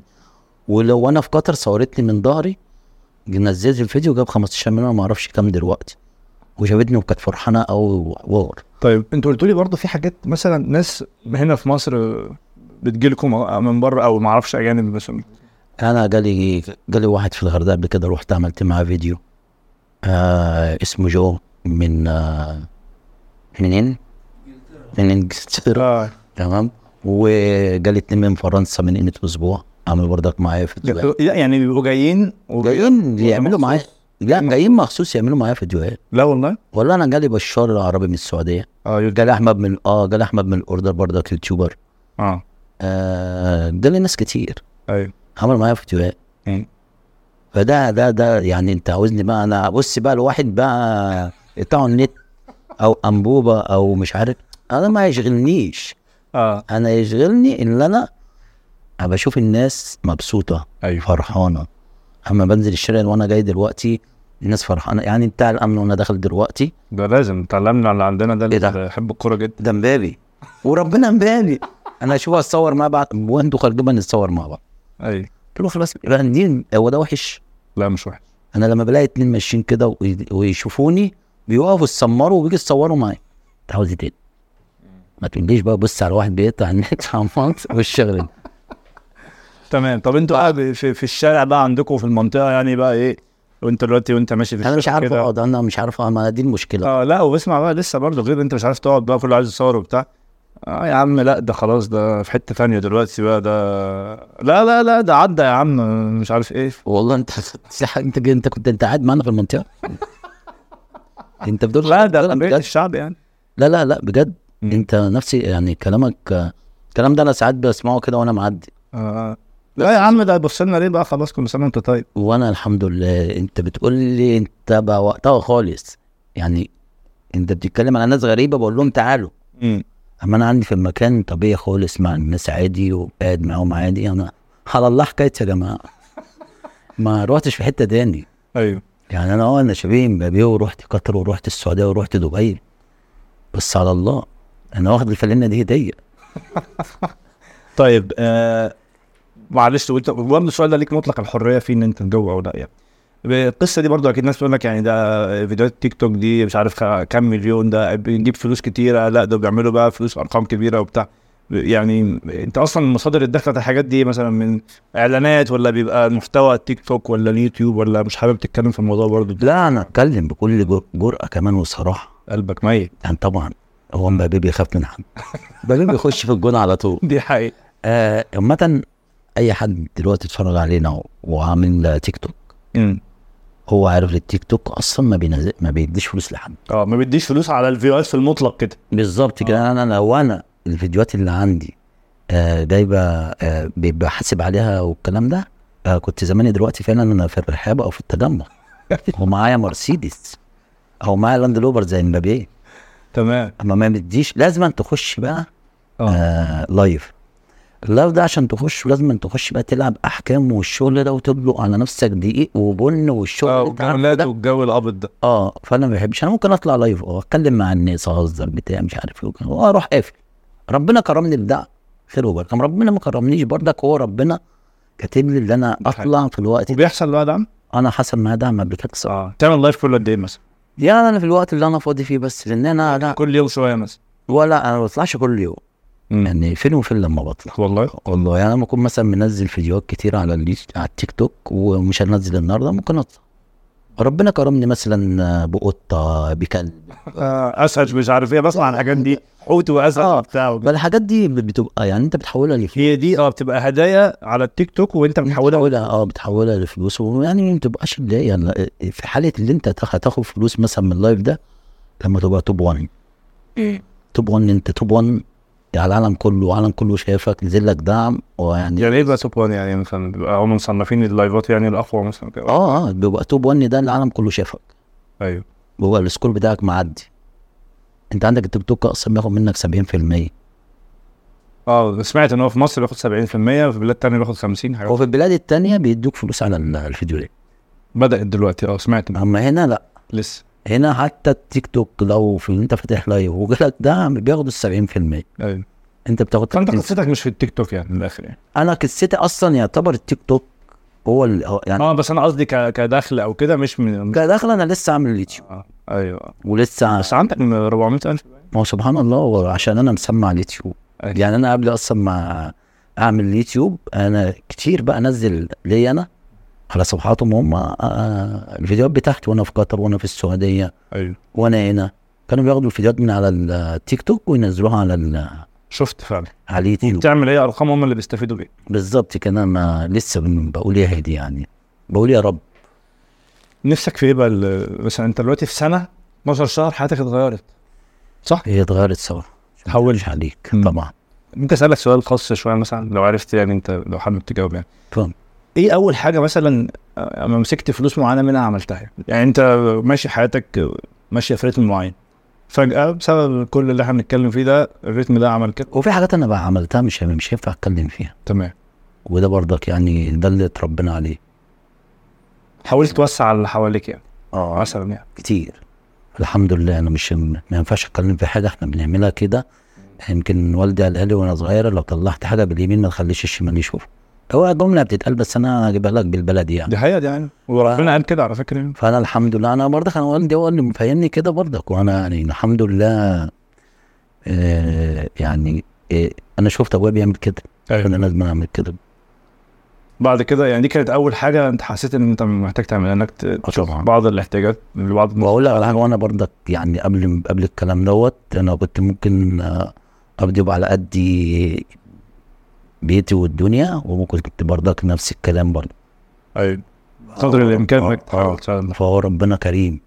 ولو انا في قطر صورتني من ظهري نزلت الفيديو جاب 15 مليون ما اعرفش كام دلوقتي وشافتني وكانت فرحانه قوي وحوار
طيب انتوا قلتوا لي برضه في حاجات مثلا ناس هنا في مصر آه، بتجيلكم آه، من بره او ما اعرفش اجانب مثلا
انا جالي جالي واحد في الغردقه قبل كده رحت عملت معاه فيديو آه اسمه جو من آه منين؟ من انجلترا
اه
تمام وجالي اتنين من فرنسا من قيمه اسبوع عملوا برضك معايا فيديوهات
لا يعني بيبقوا جايين و...
جايين يعملوا
مخصوص؟
معايا لا جايين مخصوص يعملوا معايا فيديوهات
لا والله
والله انا جالي بشار العربي من السعوديه
اه يو-
جالي احمد من اه جالي احمد من الاردن برضك يوتيوبر
اه
آه جالي ناس كتير
ايوه
عمل معايا فيديوهات
مم.
فده ده ده يعني انت عاوزني بقى انا بص بقى الواحد بقى قطعه النت او انبوبه او مش عارف انا ما يشغلنيش
اه
انا يشغلني ان انا ابقى اشوف الناس مبسوطه
ايوه
فرحانه اما بنزل الشارع وانا جاي دلوقتي الناس فرحانه يعني بتاع الامن وانا داخل دلوقتي
ده لازم اتعلمنا اللي عندنا ده
إيه ده؟
اللي بيحب الكوره جدا
ده مبابي وربنا مبابي انا اشوفه اتصور مع بعض وندخل جبل نتصور مع بعض
ايوه
قلت له خلاص يبقى دي هو ده وحش
لا مش وحش
انا لما بلاقي اتنين ماشيين كده وي- ويشوفوني بيقفوا يتصمروا وبيجوا يتصوروا معايا انت عاوز ايه تاني؟ ما تقوليش بقى بص على واحد بيقطع النت على المنطق والشغل ده
تمام طب انتوا بقى في, في الشارع بقى عندكم في المنطقه يعني بقى ايه وانت دلوقتي وانت ماشي في
انا مش
الشارع
عارف
كده.
اقعد انا مش عارف اقعد ما دي المشكله
اه لا واسمع بقى لسه برضه غير انت مش عارف تقعد بقى كله عايز يصور وبتاع اه يا عم لا ده خلاص ده في حته ثانيه دلوقتي بقى ده لا لا لا ده عدى يا عم مش عارف ايه
والله انت انت انت كنت انت قاعد معانا في المنطقه انت بدور
لا ده طبيعه
بجد
الشعب يعني
لا لا لا بجد
مم.
انت نفسي يعني كلامك الكلام ده انا ساعات بسمعه كده وانا معدي
آه. لا يا عم ده بص لنا ليه بقى خلاص كل سنه وانت طيب
وانا الحمد لله انت بتقول لي انت بقى وقتها خالص يعني انت بتتكلم على ناس غريبه بقول لهم تعالوا اما انا عندي في المكان طبيعي خالص مع الناس عادي وقاعد معاهم عادي انا على الله حكايتي يا جماعه ما روحتش في حته تاني
ايوه
يعني انا اه انا شبيه مبابي ورحت قطر ورحت السعوديه ورحت دبي بس على الله انا واخد الفلانه دي هديه
طيب آه معلش وانت برضه السؤال ده ليك مطلق الحريه فيه ان انت تجاوب او لا يعني القصه دي برضه اكيد ناس بتقول لك يعني ده فيديوهات تيك توك دي مش عارف خ- كام مليون ده بنجيب فلوس كتيره لا ده بيعملوا بقى فلوس ارقام كبيره وبتاع يعني انت اصلا مصادر الدخل بتاعت الحاجات دي مثلا من اعلانات ولا بيبقى محتوى تيك توك ولا اليوتيوب ولا مش حابب تتكلم في الموضوع برضه
لا انا اتكلم بكل جر- جرأة كمان وصراحة
قلبك ميت
يعني طبعا هو مبابي بيخاف من حد مبابي بيخش في الجون على طول
دي حقيقه
آه، عامة اي حد دلوقتي اتفرج علينا وعامل تيك توك
امم.
هو عارف التيك توك اصلا ما بينزل ما بيديش فلوس لحد
اه ما بيديش فلوس على الفيوهات في المطلق كده
بالظبط كده انا لو انا الفيديوهات اللي عندي آه، جايبه آه، بيبقى حاسب عليها والكلام ده آه، كنت زماني دلوقتي فعلا انا في الرحاب او في التجمع ومعايا مرسيدس او معايا لاند لوبر زي مبابي
تمام
اما ما بديش لازم أن تخش بقى
اه.
آه لايف اللايف ده عشان تخش لازم أن تخش بقى تلعب احكام والشغل ده وتبلق على نفسك دقيق وبن والشغل
اه
اللي أنت عارفه
والجولات
ده.
والجو الابيض ده
اه فانا ما بحبش انا ممكن اطلع لايف اه اتكلم مع الناس اهزر بتاع مش عارف ايه وكده. واروح قافل ربنا كرمني بده خير وبركه أما ربنا ما كرمنيش برضك هو ربنا كاتب لي اللي انا اطلع في الوقت ده
وبيحصل بقى دعم
انا حصل معايا دعم قبل كده صح.
اه تعمل لايف كل قد ايه مثلا
يعني انا في الوقت اللي انا فاضي فيه بس لان انا لا
كل يوم شويه مثلا
ولا انا ما بطلعش كل يوم يعني فين وفين لما بطلع
والله
والله يعني لما اكون مثلا منزل فيديوهات كتير على اليوت- على التيك توك ومش هنزل النهارده ممكن اطلع ربنا كرمني مثلا آه، بقطه بكلب
آه اسعد مش عارف ايه بسمع عن الحاجات دي حوت واسد
آه.
وبتاع
فالحاجات دي بتبقى يعني انت بتحولها لفلوس
هي دي اه بتبقى هدايا على التيك توك وانت بتحولها
بتحولها اه بتحولها لفلوس ويعني ما تبقاش اللي هي يعني في حاله اللي انت تاخ- هتاخد فلوس مثلا من اللايف ده لما تبقى توب 1 توب 1 انت توب 1 على العالم كله والعالم كله شايفك نزل لك دعم ويعني
يعني ايه بقى توب 1 يعني مثلا بيبقى هم مصنفين اللايفات يعني الاقوى مثلا كده
اه اه بيبقى توب 1 ده العالم كله شافك
ايوه
بيبقى السكور بتاعك معدي انت عندك التيك توك اصلا بياخد منك 70%
اه سمعت ان هو في مصر بياخد 70% وفي بلاد تانية بياخد 50 حاجه
هو في البلاد التانية بيدوك فلوس على ال- الفيديو ده
بدات دلوقتي اه سمعت إن-
اما هنا لا
لسه
هنا حتى التيك توك لو في انت فاتح لايف وجالك دعم بياخدوا ال 70%
ايوه
انت بتاخد
فانت
30.
قصتك مش في التيك توك يعني من الاخر يعني
انا قصتي اصلا يعتبر التيك توك هو ال- هو يعني
اه بس انا قصدي ك- كدخل او كده مش من
كدخل انا لسه عامل اليوتيوب
آه. ايوه
ولسه
بس عندك 400000
ما هو سبحان الله هو عشان انا مسمع على اليوتيوب
أيوة.
يعني انا قبل اصلا ما اعمل اليوتيوب انا كتير بقى انزل ليا انا على صفحاتهم هم آه، آه، الفيديوهات بتاعتي وانا في قطر وانا في السعوديه
ايوه
وانا هنا كانوا بياخدوا الفيديوهات من على التيك توك وينزلوها على ال-
شفت فعلا
على اليوتيوب
بتعمل ايه ارقام هم اللي بيستفيدوا بيه
بالظبط كده انا لسه بقول يا هادي يعني بقول يا رب
نفسك في ايه بقى ال- مثلا انت دلوقتي في سنه 12 شهر حياتك اتغيرت صح؟
هي اتغيرت سوا
تحولت.
مش عليك
مم.
طبعا
ممكن اسالك سؤال خاص شويه مثلا لو عرفت يعني انت لو حابب تجاوب يعني
فاهم
ايه اول حاجه مثلا آه، اما مسكت فلوس معينه منها عملتها يعني انت ماشي حياتك آه، ماشيه في رتم معين فجاه بسبب كل اللي احنا بنتكلم فيه ده الريتم ده عمل كده
وفي حاجات انا بقى عملتها مش مش هينفع اتكلم فيها
تمام
وده برضك يعني ده اللي اتربينا عليه
حاولت توسع على اللي حواليك يعني
اه
مثلا يعني
كتير الحمد لله انا مش ما ينفعش اتكلم في حاجه احنا بنعملها كده يمكن والدي قال لي وانا صغير لو طلعت حاجه باليمين ما تخليش الشمال يشوفها هو جمله بتتقال بس انا هجيبها لك بالبلدي يعني
دي حقيقه دي يعني وربنا قال كده على فكره يعني
فانا الحمد لله انا برضك انا والدي هو اللي مفهمني كده برضك وانا يعني الحمد لله آه يعني آه انا شفت ابويا بيعمل كده انا لازم اعمل كده
بعد كده يعني دي كانت اول حاجه انت حسيت ان انت محتاج تعملها انك ت- تشوف
طبعا.
بعض الاحتياجات لبعض الناس.
واقول لك على حاجه وانا برضك يعني قبل قبل الكلام دوت انا كنت ممكن آه، ابدي على قدي بيتي والدنيا وممكن كنت برضك نفس الكلام برضه
ايوه قدر الامكان
آه،
انك
آه.
تحاول تساعد.
فهو ربنا كريم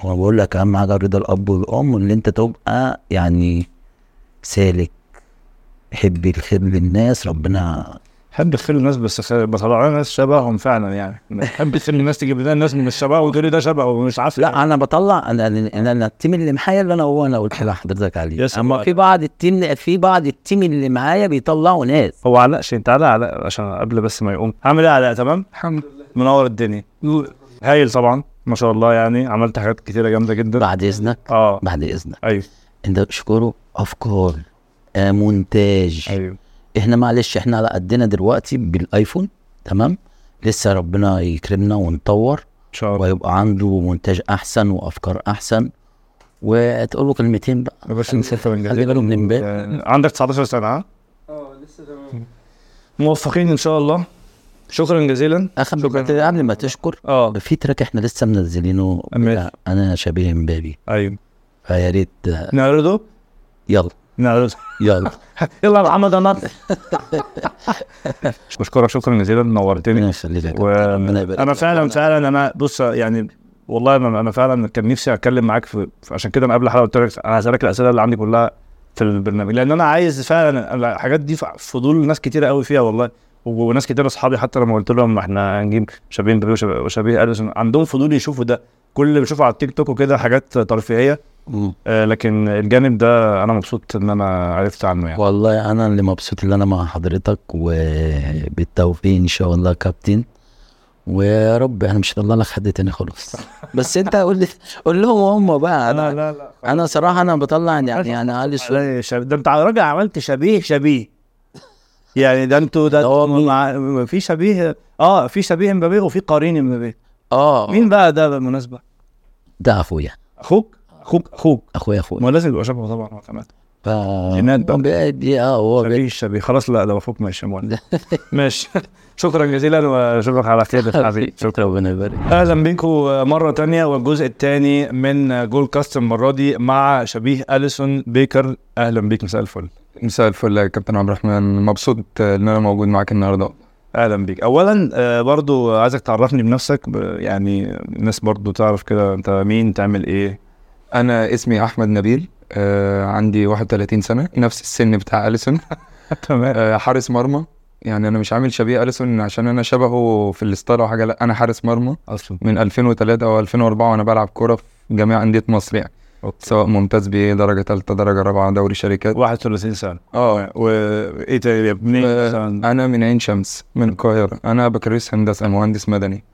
هو بقول لك اهم حاجه رضا الاب والام ان انت تبقى يعني سالك حب الخير للناس ربنا
حب الخير للناس بس خ- بطلع لنا ناس شبههم فعلا يعني حب الخير للناس تجيب لنا ناس مش شبهه وتقول لي ده شبهه ومش عارف إيه.
لا انا بطلع انا انا أنا التيم اللي معايا اللي انا هو انا قلت لحضرتك عليه
يا سلام.
اما في بعض التيم في بعض التيم اللي معايا بيطلعوا ناس
هو علاء شيء تعالى علاء عشان قبل بس ما يقوم عامل ايه يا علاء تمام الحمد لله منور الدنيا هايل طبعا ما شاء الله يعني عملت حاجات كتيره جامده جدا
بعد اذنك
اه
بعد اذنك
ايوه
انت شكره افكار آه مونتاج
ايوه
احنا معلش احنا على قدنا دلوقتي بالايفون تمام لسه ربنا يكرمنا ونطور
ان شاء الله
ويبقى عنده منتج احسن وافكار احسن وتقول له كلمتين بقى
يا باشا مسافه من
خلي
جديد
باله من امبارح
يعني عندك 19 سنه ها؟
اه لسه تمام
موفقين ان شاء الله شكرا جزيلا
اخر
شكراً.
قبل ما تشكر
اه
في تراك احنا لسه منزلينه
ماشي.
بتاع انا شبيه امبابي
ايوه
فيا ريت
نعرضه
يلا
نعرضه
يلا
يلا يا محمد انا بشكرك شكرا جزيلا نورتني
ربنا يخليك
و...
ربنا يبارك
انا
لك.
فعلا فعلا انا بص يعني والله انا انا فعلا كان نفسي اتكلم معاك في في- عشان كده انا قبل الحلقه قلت لك انا هسالك الاسئله اللي عندي كلها في البرنامج لان انا عايز فعلا الحاجات دي ف- فضول ناس كتيره قوي فيها والله و- وناس كتير اصحابي حتى لما قلت لهم احنا هنجيب شبيه مبابي وشبيه- وشبيه اليسون عندهم فضول يشوفوا ده كل اللي بيشوفه على التيك توك وكده حاجات ترفيهيه
مم.
آه، لكن الجانب ده انا مبسوط ان انا عرفت عنه يعني
والله انا اللي مبسوط ان انا مع حضرتك وبالتوفيق ان شاء الله يا كابتن ويا رب انا مش هطلع لك حد تاني خلاص بس انت قول لي قول لهم هم بقى انا
لا لا
انا صراحه انا بطلع يعني انا علي الصوت
لا يا شباب ده انت راجع عملت شبيه شبيه يعني ده انتوا ده
ده هو مين؟
مع- في شبيه اه في شبيه امبابي وفي قرين امبابي
اه
مين بقى ده بالمناسبه؟
ده اخويا
اخوك اخوك اخوك
اخويا اخويا
ما هو لازم يبقى شبهه طبعا هو كمان
ف
جينات بقى.
هو بيأدي- اه هو بيأدي.
شبيه الشبيه خلاص لا ده اخوك ماشي يا مولانا. ماشي شكرا جزيلا واشوفك على خير يا حبيبي شكرا
ربنا يبارك
اهلا بيكم مره تانية والجزء الثاني من جول كاست المره دي مع شبيه اليسون بيكر اهلا بيك مساء الفل
مساء الفل يا كابتن عبد الرحمن مبسوط ان انا موجود معاك النهارده
اهلا بيك اولا آه، برضو عايزك تعرفني بنفسك ب- يعني الناس برضو تعرف كده انت مين تعمل ايه
انا اسمي احمد نبيل آه عندي 31 سنه نفس السن بتاع اليسون
تمام
آه حارس مرمى يعني انا مش عامل شبيه اليسون عشان انا شبهه في الستايل او حاجه لا انا حارس مرمى
اصلا
من 2003 او 2004 وانا بلعب كوره في جميع انديه مصر يعني
اوكي
سواء ممتاز بيه درجه ثالثه درجه رابعه دوري شركات
31 سنه
اه
وايه إيه تاني منين
آه،
مثلا
انا من عين شمس من القاهره انا بكالوريوس هندسه مهندس مدني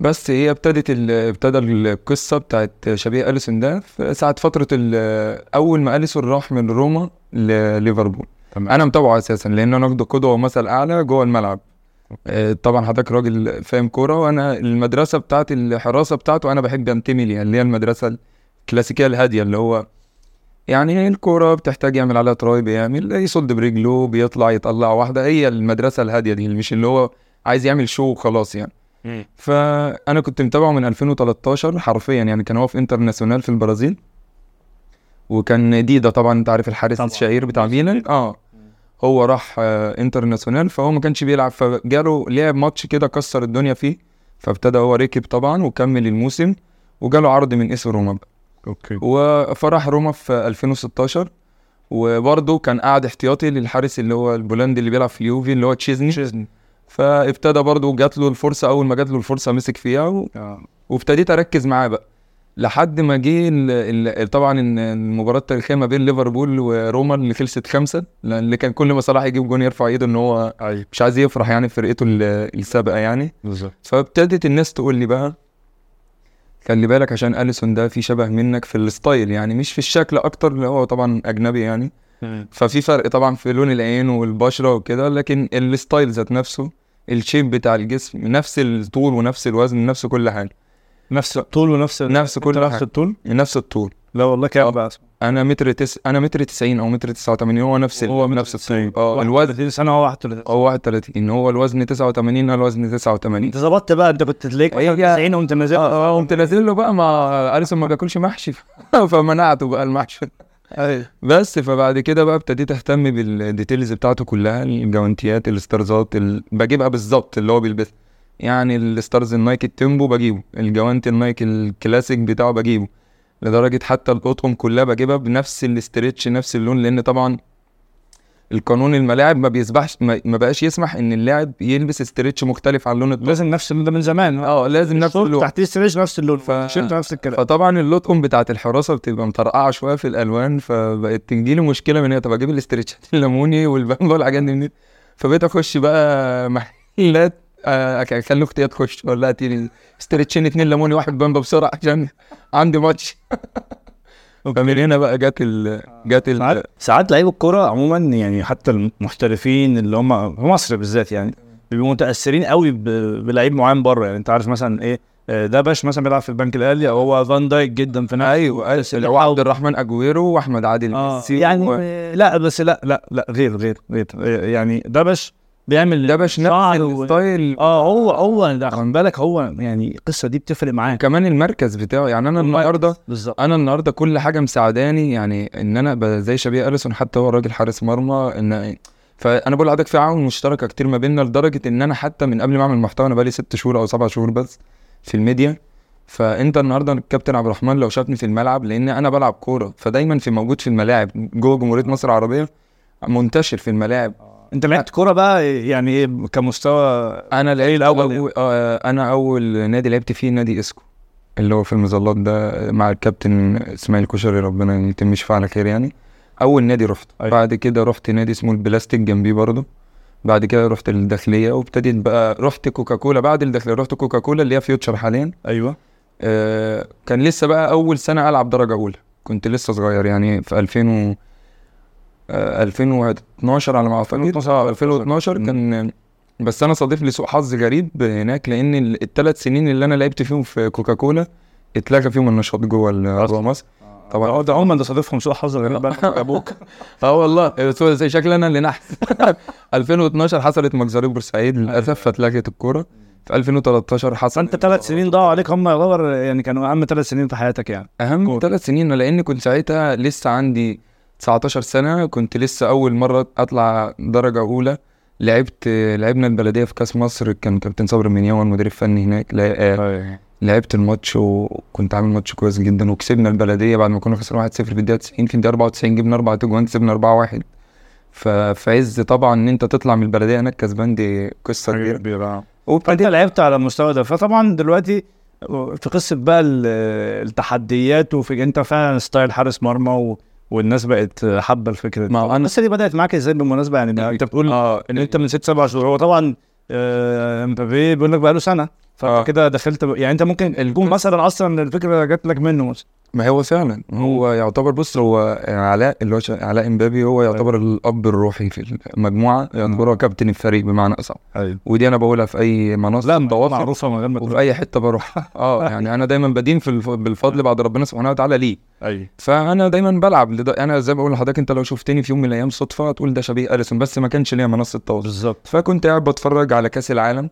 بس هي ابتدت ال... ابتدى القصه بتاعت شبيه اليسون ده في ساعه فتره ال... اول ما اليسون راح من روما لليفربول
تمام.
انا متابعه اساسا لان انا واخده قدوه ومثل اعلى جوه الملعب آه، طبعا حضرتك راجل فاهم كوره وانا المدرسه بتاعت الحراسه بتاعته انا بحب انتمي ليها اللي هي المدرسه الكلاسيكيه الهاديه اللي هو يعني الكوره بتحتاج يعمل عليها تراي بيعمل يصد برجله بيطلع يطلع واحده هي المدرسه الهاديه دي اللي مش اللي هو عايز يعمل شو وخلاص يعني
مم.
فانا كنت متابعه من 2013 حرفيا يعني كان هو في انترناسيونال في البرازيل وكان ديدا طبعا انت عارف الحارس
طبعاً.
الشهير بتاع ميلان اه هو راح آه، انترناسيونال فهو ما كانش بيلعب فجاله لعب ماتش كده كسر الدنيا فيه فابتدى هو ركب طبعا وكمل الموسم وجاله عرض من اس روما
اوكي
وفرح روما في 2016 وبرضه كان قاعد احتياطي للحارس اللي هو البولندي اللي بيلعب في اليوفي اللي هو تشيزني
تشيزني
فابتدى برضه جات له الفرصه اول ما جات له الفرصه مسك فيها و...
اه
وابتديت اركز معاه بقى لحد ما جه ال... ال... طبعا إن المباراه التاريخيه ما بين ليفربول وروما اللي خلصت خمسه لأن اللي كان كل ما صلاح يجيب جون يرفع ايده ان هو
ايوه
مش عايز يفرح يعني في فرقته ال- السابقه يعني
بالظبط
فابتدت الناس تقول لي بقى خلي بالك عشان اليسون ده في شبه منك في الستايل يعني مش في الشكل اكتر اللي هو طبعا اجنبي يعني ففي فرق طبعا في لون العين والبشره وكده لكن الستايل ذات نفسه الشيب بتاع الجسم نفس الطول ونفس الوزن نفس كل حاجه
نفس الطول ونفس
نفس كل
أنت نفس
حاجة.
الطول
نفس الطول
لا والله كام
آه.
بقى
انا متر تس... انا متر 90 او متر 89 هو نفس ال- نفس الطول اه الوزن
31 سنه هو 31
هو 31 هو الوزن 89 انا الوزن 89
انت ظبطت بقى انت كنت تلاقيك
هي-
90 وانت نازل
اه قمت نازل له بقى ما اليسون ما بياكلش محشي فمنعته بقى المحشي
ايوه
بس فبعد كده بقى ابتديت اهتم بالديتيلز بتاعته كلها الجوانتيات الستارزات ال... بجيبها بالظبط اللي هو بيلبسها يعني الستارز النايك التيمبو بجيبه الجوانتي النايك الكلاسيك بتاعه بجيبه لدرجة حتى القطن كلها بجيبها بنفس الاسترتش نفس اللون لأن طبعا القانون الملاعب ما بيسمحش ما ما بقاش يسمح إن اللاعب يلبس استرتش مختلف عن لون الطقم
لازم نفس اللون ده من زمان آه.
اه لازم نفس
الشورت
اللون
تحت السريج نفس اللون
ف-
التيشيرت نفس الكلام
فطبعا اللطقم بتاعت الحراسه بتبقى مطرقعه شويه في الالوان فبقت تجيلي مشكله من هنا طب اجيب الاسترتشات الليموني والبامبا والحاجات دي منين فبقيت اخش بقى محلات آه، أك- اخلي اختي تخش ولا تيجي استرتشين اتنين ليموني واحد بامبا بسرعه عشان عندي ماتش فمن هنا بقى جت ال جت ال
ساعات ساعات لعيب الكوره عموما يعني حتى المحترفين اللي هم في مصر بالذات يعني بيبقوا متاثرين قوي ب- بلعيب معين بره يعني انت عارف مثلا ايه آه، ده باش مثلا بيلعب في البنك الاهلي او هو فان دايك جدا في نفسه
ايوه اللي هو عبد الرحمن اجويرو واحمد عادل
اه
ميسي
يعني
و-
آه، لا بس لا لا لا غير غير غير آه، يعني ده باش بيعمل
ده باش نفس
شعر و-
الستايل
اه هو هو ده خد بالك هو يعني القصه دي بتفرق معاه
كمان المركز بتاعه يعني انا النهارده
بالظبط
انا النهارده كل حاجه مساعداني يعني ان انا ب- زي شبيه اليسون حتى هو راجل حارس مرمى ان فانا بقول لحضرتك في عوامل مشتركه كتير ما بيننا لدرجه ان انا حتى من قبل ما اعمل محتوى انا بقالي ست شهور او سبع شهور بس في الميديا فانت النهارده الكابتن عبد الرحمن لو شافني في الملعب لان انا بلعب كوره فدايما في موجود في الملاعب جوه جمهوريه مصر العربيه منتشر في الملاعب
انت لعبت كوره بقى يعني
إيه،
ايه كمستوى
انا لعبت
الأول
أول آه انا اول نادي لعبت فيه نادي اسكو اللي هو في المظلات ده مع الكابتن اسماعيل كشري ربنا يتم شفاعه على خير يعني اول نادي رحت
أيوة.
بعد كده رحت نادي اسمه البلاستيك جنبيه برضه بعد كده رحت الداخليه وابتديت بقى رحت كوكاكولا بعد الداخليه رحت كوكاكولا اللي هي فيوتشر حاليا
ايوه
آه، كان لسه بقى اول سنه العب درجه اولى كنت لسه صغير يعني في 2000 و آه، 2012 على ما اعتقد
2012.
آه، 2012 كان بس انا صادف لي سوء حظ غريب هناك لان الثلاث سنين اللي انا لعبت فيهم في كوكاكولا اتلغى فيهم النشاط جوه ال- جوه مصر طبعا
طبعا ده عموما ده صادفهم سوء حظ غريب بقى ابوك
اه والله سوري، زي شكلي انا اللي نحس 2012 حصلت مجزريه بورسعيد للاسف فاتلغت الكوره في 2013 حصل
فانت ثلاث سنين ضاعوا عليك هم يعتبر يعني كانوا اهم ثلاث سنين في حياتك يعني
اهم ثلاث سنين لان كنت ساعتها لسه عندي 19 سنه كنت لسه اول مره اطلع درجه اولى لعبت لعبنا البلديه في كاس مصر كان كابتن صبري المنيوان المدير الفني هناك لع- آه،
طيب.
لعبت الماتش وكنت عامل ماتش كويس جدا وكسبنا البلديه بعد ما كنا خسرنا 1-0 في الدقيقه 90 في الدقيقه 94 جبنا اربع تجوان كسبنا 4-1 ففي عز طبعا ان انت تطلع من البلديه هناك كسبان دي قصه كبيره
كبيره فانت لعبت على المستوى ده فطبعا دلوقتي في قصه بقى ال- التحديات وفي انت فعلا ستايل حارس مرمى و... والناس بقت حابه الفكره دي
ما
طب
أنا-
القصه دي بدات معاك ازاي بالمناسبه يعني ده انت بتقول
اه
ان انت من ست سبع شهور هو طبعا آه، امبابي بيقول لك بقى له سنه
آه.
فانت كده دخلت ب... يعني انت ممكن تكون مثلا اصلا الفكره جات لك منه مثلا
ما هو فعلا هو يعتبر بص هو علاء اللي هو ش- علاء امبابي هو يعتبر الاب الروحي في المجموعه يعتبر هو كابتن الفريق بمعنى اصح
ايوه
ودي انا بقولها في اي مناصب
لا
متواصل
معروفه من غير ما
وفي اي حته بروحها اه يعني انا دايما بدين في الف... بالفضل بعد ربنا سبحانه وتعالى ليه
ايوه
فانا دايما بلعب لد... انا زي ما بقول لحضرتك انت لو شفتني في يوم من الايام صدفه هتقول ده شبيه اليسون بس ما كانش ليا منصه تواصل
بالظبط
فكنت قاعد بتفرج على كاس العالم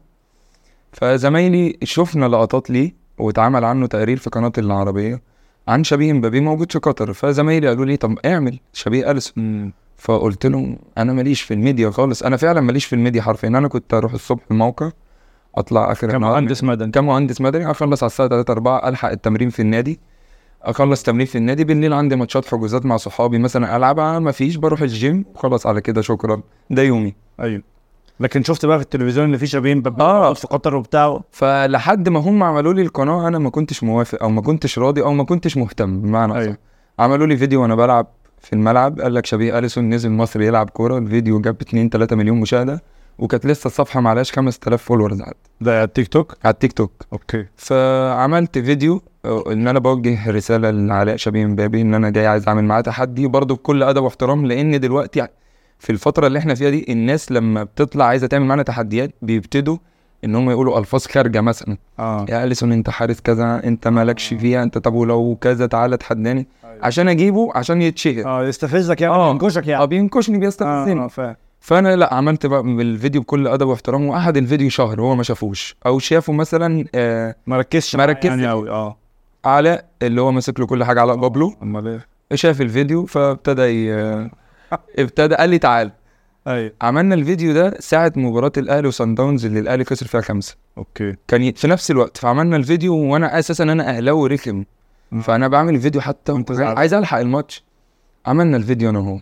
فزمايلي شفنا لقطات ليه واتعمل عنه تقرير في قناه العربيه عن شبيه مبابي موجود في قطر فزمايلي قالوا لي طب اعمل شبيه اليسون فقلت لهم انا ماليش في الميديا خالص انا فعلا ماليش في الميديا حرفيا انا كنت اروح الصبح الموقع اطلع اخر
كان
النهار
مهندس مدني
كمهندس مدني اخلص على الساعه 3 4 الحق التمرين في النادي اخلص تمرين في النادي بالليل عندي ماتشات حجوزات مع صحابي مثلا العبها ما فيش بروح الجيم وخلاص على كده شكرا ده يومي
ايوه لكن شفت بقى في التلفزيون اللي فيه شبيه مبابي
آه.
في قطر وبتاع
فلحد ما هم عملوا لي القناه انا ما كنتش موافق او ما كنتش راضي او ما كنتش مهتم بمعنى أيوه.
أيوة.
عملوا لي فيديو وانا بلعب في الملعب قال لك شبيه اليسون نزل مصر يلعب كوره الفيديو جاب 2 3 مليون مشاهده وكانت لسه الصفحه معلهاش 5000 فولورز على
ده على التيك توك
على التيك توك
اوكي
فعملت فيديو آه، ان انا بوجه رساله لعلاء شبيه مبابي ان انا جاي عايز اعمل معاه تحدي برضه بكل ادب واحترام لان دلوقتي في الفتره اللي احنا فيها دي الناس لما بتطلع عايزه تعمل معانا تحديات بيبتدوا ان هم يقولوا الفاظ خارجه مثلا
اه
يا اليسون انت حارس كذا انت مالكش فيها انت طب ولو كذا تعالى اتحداني
أيوة.
عشان اجيبه عشان يتشهر
اه يستفزك يعني
آه.
ينكشك يعني
اه بينكشني بيستفزني
اه فاهم
فانا لا عملت بقى الفيديو بكل ادب واحترام واحد الفيديو شهر هو ما شافوش او شافه مثلا آه
ما ركزش
ما
معاه
ركزش.
يعني قوي اه
علاء اللي هو ماسك له كل حاجه علاء بابلو
امال ايه
شاف الفيديو فابتدى ي... ابتدى قال لي تعال
ايوه
عملنا الفيديو ده ساعه مباراه الاهلي وصن داونز اللي الاهلي خسر فيها خمسه
اوكي
كان ي- في نفس الوقت فعملنا الفيديو وانا اساسا انا اهلاوي رخم
مم.
فانا بعمل فيديو حتى
وأنت زعلان.
عايز الحق الماتش عملنا الفيديو انا وهو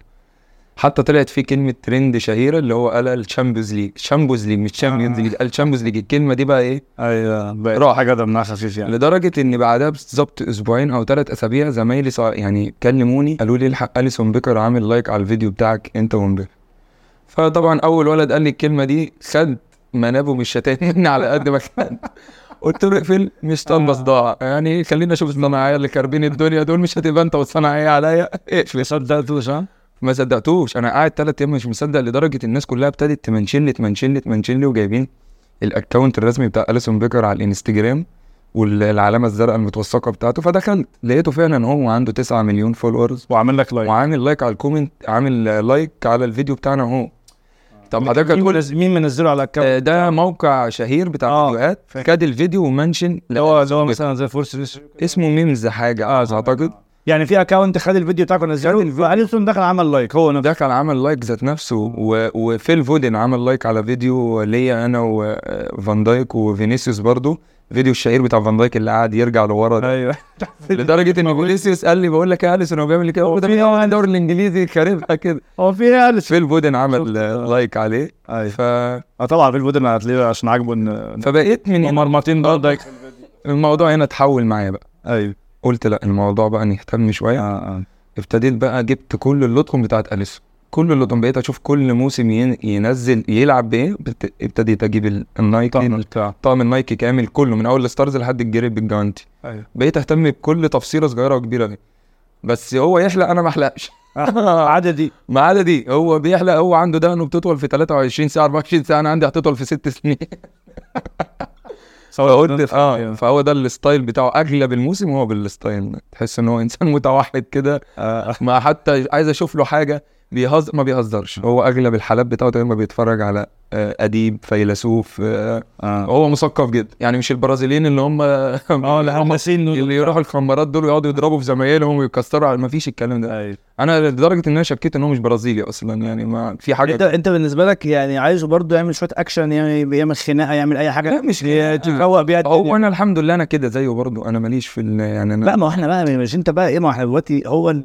حتى طلعت فيه كلمه ترند شهيره اللي هو قال الشامبيونز ليج شامبيونز ليج مش تشامبيونز ليج الشامبيونز ليج الكلمه دي بقى ايه
ايوه بقت
راح.
حاجه دمها خفيف يعني
لدرجه ان بعدها بالظبط اسبوعين او ثلاث اسابيع زمايلي صا- يعني كلموني قالوا لي الحق اليسون بيكر عامل لايك على الفيديو بتاعك انت ومبابي فطبعا اول ولد قال لي الكلمه دي خد منابه من الشتات مني على قد ما كان قلت له اقفل مش طالبه صداع يعني خلينا اشوف الصناعيه اللي خاربين الدنيا دول مش هتبقى انت والصناعيه عليا اقفل
صدقتوش ها؟
ما صدقتوش انا قاعد ثلاث ايام مش مصدق لدرجه الناس كلها ابتدت تمنشن لي تمنشن لي تمنشن لي وجايبين الاكونت الرسمي بتاع اليسون بيكر على الانستجرام والعلامه الزرقاء المتوثقه بتاعته فدخلت لقيته فعلا هو عنده 9 مليون فولورز
وعامل لك لايك
وعامل لايك على الكومنت عامل لايك على الفيديو بتاعنا اهو طب حضرتك
مين
هتقول
منز- مين منزله على الاكونت؟
آه، ده موقع شهير بتاع
آه،
فيديوهات
فاكر.
خد الفيديو ومنشن
اللي هو اللي هو مثلا زي آه، فورس ريس-
اسمه ميمز حاجه اعتقد
يعني في اكونت خد الفيديو بتاعك ونزله فاليسون دخل عمل لايك هو نفسه
دخل عمل لايك ذات نفسه و... وفيل فودن عمل لايك على فيديو ليا انا وفان دايك وفينيسيوس برضو فيديو الشهير بتاع فان دايك اللي قاعد يرجع لورا ده.
ايوه
لدرجه ان فينيسيوس قال لي بقول لك يا اليسون هو بيعمل كده هو ده مين هو الدوري الانجليزي خاربها كده
هو في ايه اليسون؟
فيل فودن عمل آه، لايك عليه
ايوه
ف...
اه طبعا في البودن هتلاقيه عشان عاجبه ان
فبقيت من هنا
مرمطين برضك
الموضوع هنا اتحول معايا بقى
ايوه
قلت لا الموضوع بقى نهتم شويه
اه
ابتديت بقى جبت كل اللطم بتاعت اليسون كل اللطم بقيت اشوف كل موسم ين- ينزل يلعب بايه بت- ابتديت اجيب ال- النايكي
اه
طقم النايكي كامل كله من اول الستارز لحد الجريب بالجوانتي
ايوه
بقيت اهتم بكل تفصيله صغيره وكبيره دي بس هو يحلق انا ما احلقش
العاده دي
ما عدا دي هو بيحلق هو عنده دقنه بتطول في 23 ساعه 24 ساعه انا عندي هتطول في 6 سنين
آه.
فقلت اه
أيوة.
فهو ده الستايل بتاعه اغلب الموسم هو بالستايل ده. تحس ان هو انسان متوحد كده
آه.
ما حتى عايز اشوف له حاجه بيهزر ما بيهزرش هو اغلب الحالات بتاعته يا اما بيتفرج على آه، اديب فيلسوف آه،
اه
هو مثقف جدا يعني مش البرازيليين اللي هم
اه لا هم
اللي يروحوا الخمارات دول ويقعدوا يضربوا في زمايلهم ويكسروا على ما فيش الكلام ده
ايوه
انا لدرجه ان انا شكيت ان هو مش برازيلي اصلا يعني ما في
انت
حاجه
انت بالنسبه لك يعني عايزه برضه يعمل شويه اكشن يعني يعمل خناقه يعمل اي حاجه
لا مش
ي-
كده.
تفوق بيها الدنيا.
هو انا الحمد لله انا كده زيه برضو انا ماليش في ال- يعني انا
لا ما هو احنا بقى مش انت بقى ايه ما هو احنا دلوقتي هو ال-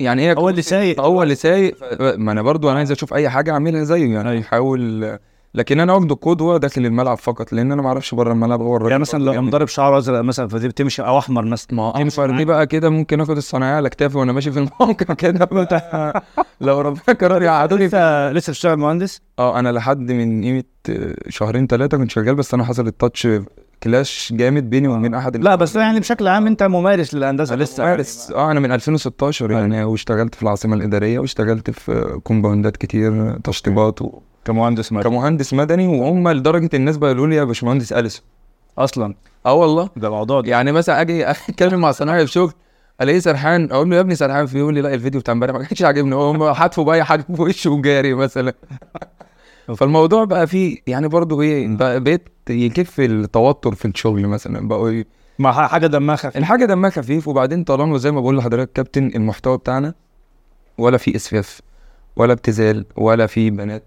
يعني ايه
هو اللي سايق
هو اللي سايق ف- ما انا برضو انا عايز اشوف اي حاجه اعملها زيه
أيوه.
يعني احاول لكن انا واخده قدوه داخل الملعب فقط لان انا ما اعرفش بره الملعب هو الراجل
يعني مثلا لو يعني قام ضارب شعره ازرق مثلا فدي بتمشي او احمر مثلا
ما هو فارني بقى كده ممكن اخد الصناعيه على كتافي وانا ماشي في الموقع كده بتاع- لو ربنا كرر يقعدوني في-
لسه لسه بتشتغل مهندس
اه انا لحد من قيمه آه، شهرين ثلاثه كنت شغال بس انا حصل التاتش كلاش جامد بيني وبين احد
لا بس يعني بشكل عام انت ممارس للهندسه لسه
مارس اه انا من 2016 يعني واشتغلت في العاصمه الاداريه واشتغلت في آه، كومباوندات كتير آه، تشطيبات و...
كمهندس مدني
كمهندس مدني وهم لدرجه الناس بقى يقولوا لي يا باشمهندس اليسون
اصلا
اه والله
ده موضوع ده
يعني مثلا اجي اتكلم مع صنايعي في شغل الاقيه سرحان اقول له يا ابني سرحان في إيه؟ يقول لي لا الفيديو بتاع امبارح ما كانش عاجبني هو هم حدفوا باي حاجه في وشه وجاري مثلا فالموضوع بقى فيه يعني برضه ايه بقى- بقيت يكف التوتر في الشغل مثلا بقوا ي-
مع ح- حاجه دمها خفيف
الحاجه دمها خفيف وبعدين طالما زي ما بقول لحضرتك كابتن المحتوى بتاعنا ولا في اسفاف ولا ابتذال ولا في بنات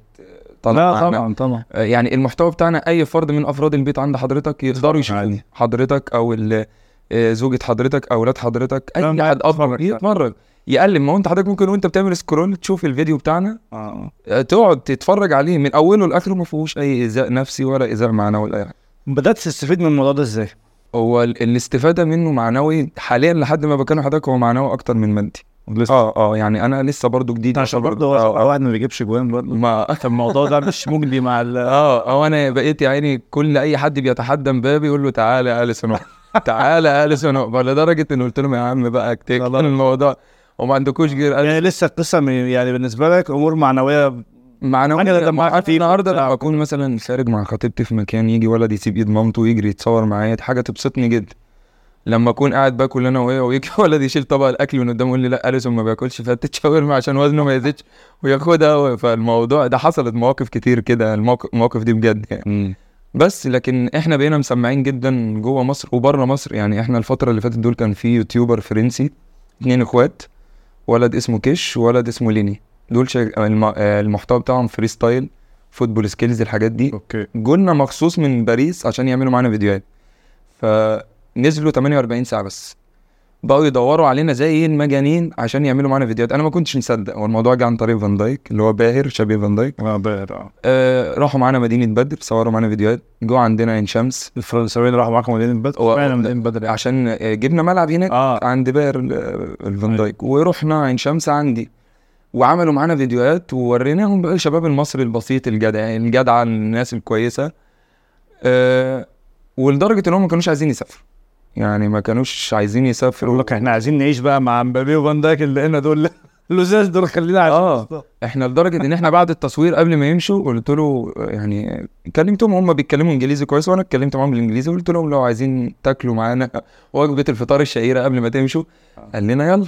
آه،
لا
طالعة-
طبعا طبعا
يعني المحتوى بتاعنا اي فرد من افراد البيت عند حضرتك يقدروا يشوفوه
عادي.
حضرتك او ال- آه، زوجة حضرتك اولاد حضرتك
لا،
اي
ما
حد
يتفرج.
اكبر يتفرج يقلب ما هو انت حضرتك ممكن وانت بتعمل سكرول تشوف الفيديو بتاعنا
اه
آه، تقعد تتفرج عليه من اوله لاخره ما فيهوش اي ايذاء نفسي ولا ايذاء معنوي ولا اي حاجه
بدات تستفيد من الموضوع ده ازاي؟
هو ال- الاستفاده منه معنوي حاليا لحد ما بكلم حضرتك هو معنوي اكتر من مادي
لسه
اه اه يعني انا لسه برضو جديد
عشان برضه هو
آه، آه.
واحد ما بيجيبش جوان برضه
ما
الموضوع ده مش مجدي مع ال
اه او انا بقيت يا عيني كل اي حد بيتحدى مبابي يقول له تعالى يا اليسون هو- تعالى يا اليسون هو. لدرجه ان قلت لهم يا عم بقى اكتئب
خلاص.
الموضوع وما عندكوش غير أليسون.
يعني لسه القصه من- يعني بالنسبه لك امور معنويه
معنى
حاجة ده دمها
مع-
خفيف
النهارده
وبتاع.
لما اكون مثلا خارج مع خطيبتي في مكان يجي ولد يسيب ايد مامته ويجري يتصور معايا دي حاجه تبسطني جدا لما اكون قاعد باكل انا وهي ويجي ولد يشيل طبق الاكل من قدامه يقول لي لا اليسون ما بياكلش فتت شاورما عشان وزنه ما يزيدش وياخدها فالموضوع ده حصلت مواقف كتير كده المواقف المواقف دي بجد يعني بس لكن احنا بقينا مسمعين جدا جوه مصر وبره مصر يعني احنا الفتره اللي فاتت دول كان في يوتيوبر فرنسي اتنين اخوات ولد اسمه كيش وولد اسمه ليني دول شا... الم... آه، المحتوى بتاعهم فري ستايل فوتبول سكيلز الحاجات دي
اوكي
جولنا مخصوص من باريس عشان يعملوا معانا فيديوهات فنزلوا 48 ساعه بس بقوا يدوروا علينا زي إيه المجانين عشان يعملوا معانا فيديوهات انا ما كنتش مصدق هو الموضوع جه عن طريق فان دايك اللي هو باهر شبيه فان دايك
اه بقى- آه.
آه راحوا معانا مدينه بدر صوروا معانا فيديوهات جو عندنا عين شمس
الفرنساويين راحوا معاكم مدينه بدر
هو-
فعلا مدينه بدر
عشان آه، جبنا ملعب هناك
اه
عند بئر ال- الفان دايك ورحنا عين شمس عندي وعملوا معانا فيديوهات ووريناهم بقى الشباب المصري البسيط الجدع الجدع الناس الكويسه آه ولدرجه ان هم ما كانوش عايزين يسافروا يعني ما كانوش عايزين
يقول
يسافروا
لك احنا عايزين نعيش بقى مع مبابي وفان دايك اللي هنا دول لزاز دول خلينا عايشين
اه احنا لدرجه ان احنا بعد التصوير قبل ما يمشوا قلت له يعني كلمتهم هم بيتكلموا انجليزي كويس وانا اتكلمت معاهم بالانجليزي قلت لهم لو عايزين تاكلوا معانا وجبه الفطار الشهيره قبل ما تمشوا قال لنا يلا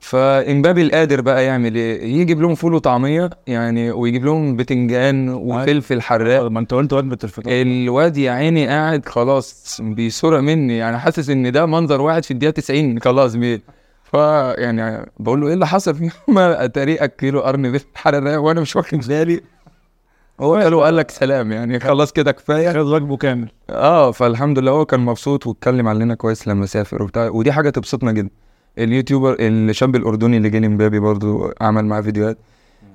فامبابي القادر بقى يعمل ايه؟ يجيب لهم فول وطعميه يعني ويجيب لهم بتنجان وفلفل حراق
ما انت قلت وجبه
إيه؟
الفطار
الواد يا عيني قاعد خلاص بيسرق مني يعني حاسس ان ده منظر واحد في الدقيقه 90 خلاص بي فا يعني بقول له ايه اللي حصل في ما اتريقك كيلو قرن بالحرارة وانا مش واخد بالي هو قال له قال لك سلام يعني خلاص كده كفايه
خد وجبه كامل
اه فالحمد لله هو كان مبسوط واتكلم علينا كويس لما سافر وبتاع ودي حاجه تبسطنا جدا اليوتيوبر الشاب الاردني اللي جه لي مبابي برضو عمل معاه فيديوهات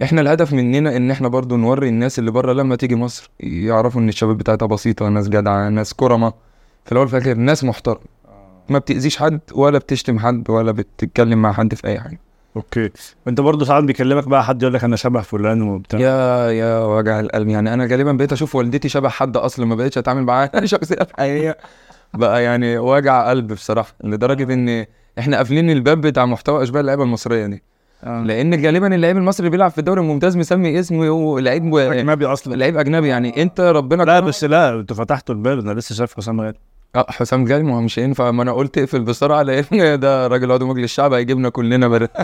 احنا الهدف مننا ان احنا برضو نوري الناس اللي بره لما تيجي مصر يعرفوا ان الشباب بتاعتها بسيطه ناس جدعه ناس كرمه في الاول وفي الاخر ناس محترمه ما بتاذيش حد ولا بتشتم حد ولا بتتكلم مع حد في اي حاجه
اوكي انت برضه ساعات بيكلمك بقى حد يقول لك انا شبه فلان وبتاع
يا يا وجع القلب يعني انا غالبا بقيت اشوف والدتي شبه حد اصلا ما بقتش اتعامل معاها شخصيه حقيقيه بقى يعني وجع قلب بصراحه
آه.
لدرجه ان احنا قافلين الباب بتاع محتوى اشباه اللعيبه المصريه دي
آه.
لان غالبا اللعيب المصري اللي بيلعب في الدوري الممتاز مسمي اسمه هو لعيب
اجنبي اصلا
لعيب اجنبي يعني انت ربنا
لا
كرمك-
بس لا انت فتحت الباب انا لسه شايف حسام غالي
اه حسام غالي ما هو مش هينفع ما انا قلت اقفل بسرعه لان ده راجل عضو مجلس الشعب هيجيبنا كلنا برد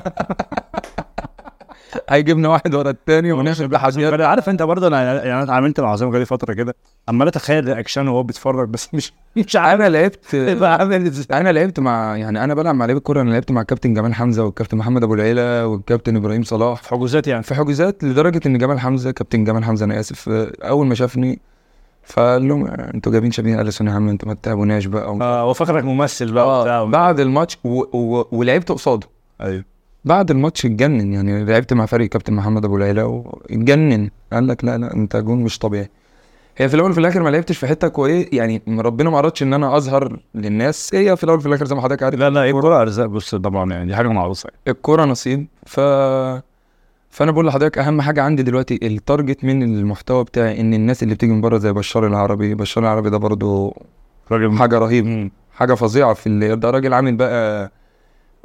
هيجيبنا واحد ورا التاني ونعمل
حسام
تحديات
غالي عارف انت برضه انا يعني انا اتعاملت مع حسام غالي فتره كده عمال اتخيل رياكشن وهو بيتفرج بس مش
مش عارف انا لعبت
هيبقى عامل ازاي
انا لعبت مع يعني انا بلعب مع لعيبه الكوره انا لعبت مع الكابتن جمال حمزه والكابتن محمد ابو العيله والكابتن ابراهيم صلاح
في حجوزات يعني
في حجوزات لدرجه ان جمال حمزه كابتن جمال حمزه انا اسف آه، اول ما شافني فقال لهم آه، انتوا جايبين شبيه اليسون يا عم انتوا ما تتعبوناش بقى ومش
اه هو فاكرك ممثل بقى
آه،
وبتاع
بعد الماتش و... و... ولعبت قصاده
ايوه
بعد الماتش اتجنن يعني لعبت مع فريق كابتن محمد ابو العيله واتجنن قال لك لا لا انت جون مش طبيعي هي في الاول وفي الاخر ما لعبتش في حته كويس يعني ربنا ما ارادش ان انا اظهر للناس هي في الاول وفي الاخر زي ما حضرتك عارف
لا لا الكوره ارزاق بص طبعا يعني دي حاجه معروفه يعني
الكوره نصيب ف فانا بقول لحضرتك اهم حاجه عندي دلوقتي التارجت من المحتوى بتاعي ان الناس اللي بتيجي من بره زي بشار العربي بشار العربي ده برضو
راجل
حاجه رهيبه
مم.
حاجه فظيعه في ال... ده راجل عامل بقى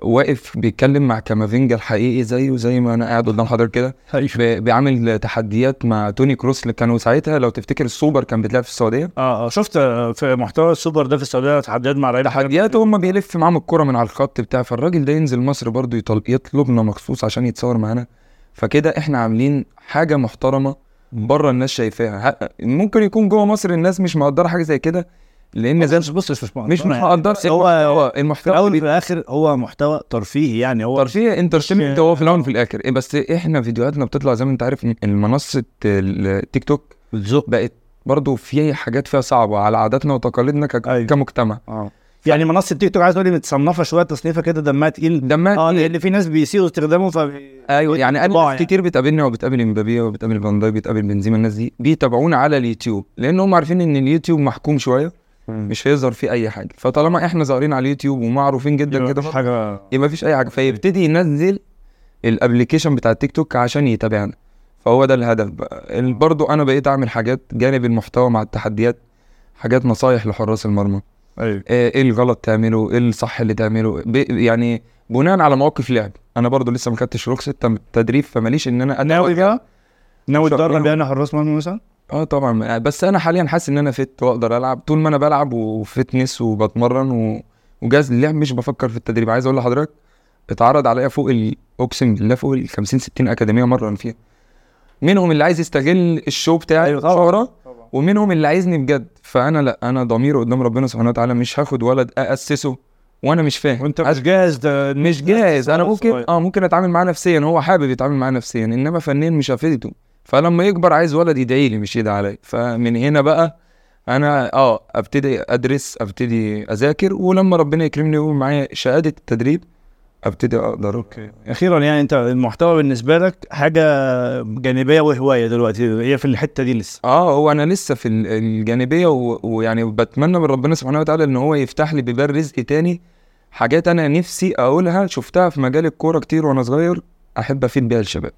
واقف بيتكلم مع كامافينجا الحقيقي زيه زي ما انا قاعد قدام حضرتك كده
أيوه.
ب- بيعمل تحديات مع توني كروس اللي كانوا ساعتها لو تفتكر السوبر كان بيتلعب في السعوديه
اه اه شفت آه، في محتوى السوبر ده في السعوديه تحديات مع ريال حاجه
تحديات هم بيلف معاهم الكرة من على الخط بتاع فالراجل ده ينزل مصر برضه يطل... يطلبنا مخصوص عشان يتصور معانا فكده احنا عاملين حاجة محترمة بره الناس شايفاها ه- ممكن يكون جوه مصر الناس مش مقدرة حاجة زي كده لان زي
مش بص مش مش
مش
مقدرة يعني.
مقدر
هو
هو
في
المحتوى
الاول
اللي
وفي الاخر هو محتوى ترفيهي يعني هو
ترفيه انترتينمنت هو في الاول وفي الاخر إيه بس احنا فيديوهاتنا بتطلع زي ما انت عارف منصه التيك توك
بالظبط
بقت برضه في حاجات فيها صعبه على عاداتنا وتقاليدنا كك-
أيوة.
كمجتمع
يعني منصه تيك توك عايز اقول لي متصنفه شويه تصنيفه كده دمها تقيل
دمها
اه لان في ناس بيسيئوا استخدامه ف
ايوه أيوة، يعني انا
طباع
ناس
يعني.
كتير بتقابلني وبتقابل امبابي وبتقابل فان دايك بتقابل بنزيما الناس دي بيتابعونا على اليوتيوب لان هم عارفين ان اليوتيوب محكوم شويه مش هيظهر فيه اي حاجه فطالما احنا ظاهرين على اليوتيوب ومعروفين جدا
يبقى
كده
مفيش حاجه
يبقى مفيش اي حاجه فيبتدي ينزل الابلكيشن بتاع التيك توك عشان يتابعنا فهو ده الهدف بقى ال- برضو انا بقيت اعمل حاجات جانب المحتوى مع التحديات حاجات نصايح لحراس المرمى
ايوه
آه، ايه الغلط تعمله ايه الصح اللي تعمله ب- يعني بناء على مواقف لعب انا برضو لسه ما خدتش رخصه تم- تدريب فماليش ان انا
ناوي بقى ناوي
شو-
تدرب يعني حراس مرمى مثلا
اه طبعا بس انا حاليا حاسس ان انا فت واقدر العب طول ما انا بلعب وفتنس وبتمرن و... وجاهز للعب مش بفكر في التدريب عايز اقول لحضرتك اتعرض عليا فوق ال اقسم بالله فوق ال 50 60 اكاديميه مرن فيها منهم اللي عايز يستغل الشو بتاعي
أيوة طبعاً.
شهرة،
طبعاً.
ومنهم اللي عايزني بجد فانا لا انا ضميري قدام ربنا سبحانه وتعالى مش هاخد ولد اسسه وانا مش فاهم
وانت
عايز-
مش جاهز ده
مش جاهز انا ممكن
صغير.
اه ممكن اتعامل معاه نفسيا هو حابب يتعامل معاه نفسيا انما فنيا مش هفيده فلما يكبر عايز ولد يدعي لي مش يدعي عليا فمن هنا بقى انا اه ابتدي ادرس ابتدي اذاكر ولما ربنا يكرمني ويقوم معايا شهاده التدريب ابتدي اقدر اوكي
اخيرا يعني انت المحتوى بالنسبه لك حاجه جانبيه وهوايه دلوقتي هي في الحته دي لسه
اه هو انا لسه في ال- الجانبيه و- ويعني بتمنى من ربنا سبحانه وتعالى ان هو يفتح لي بيبان رزق تاني حاجات انا نفسي اقولها شفتها في مجال الكوره كتير وانا صغير احب افيد بيها الشباب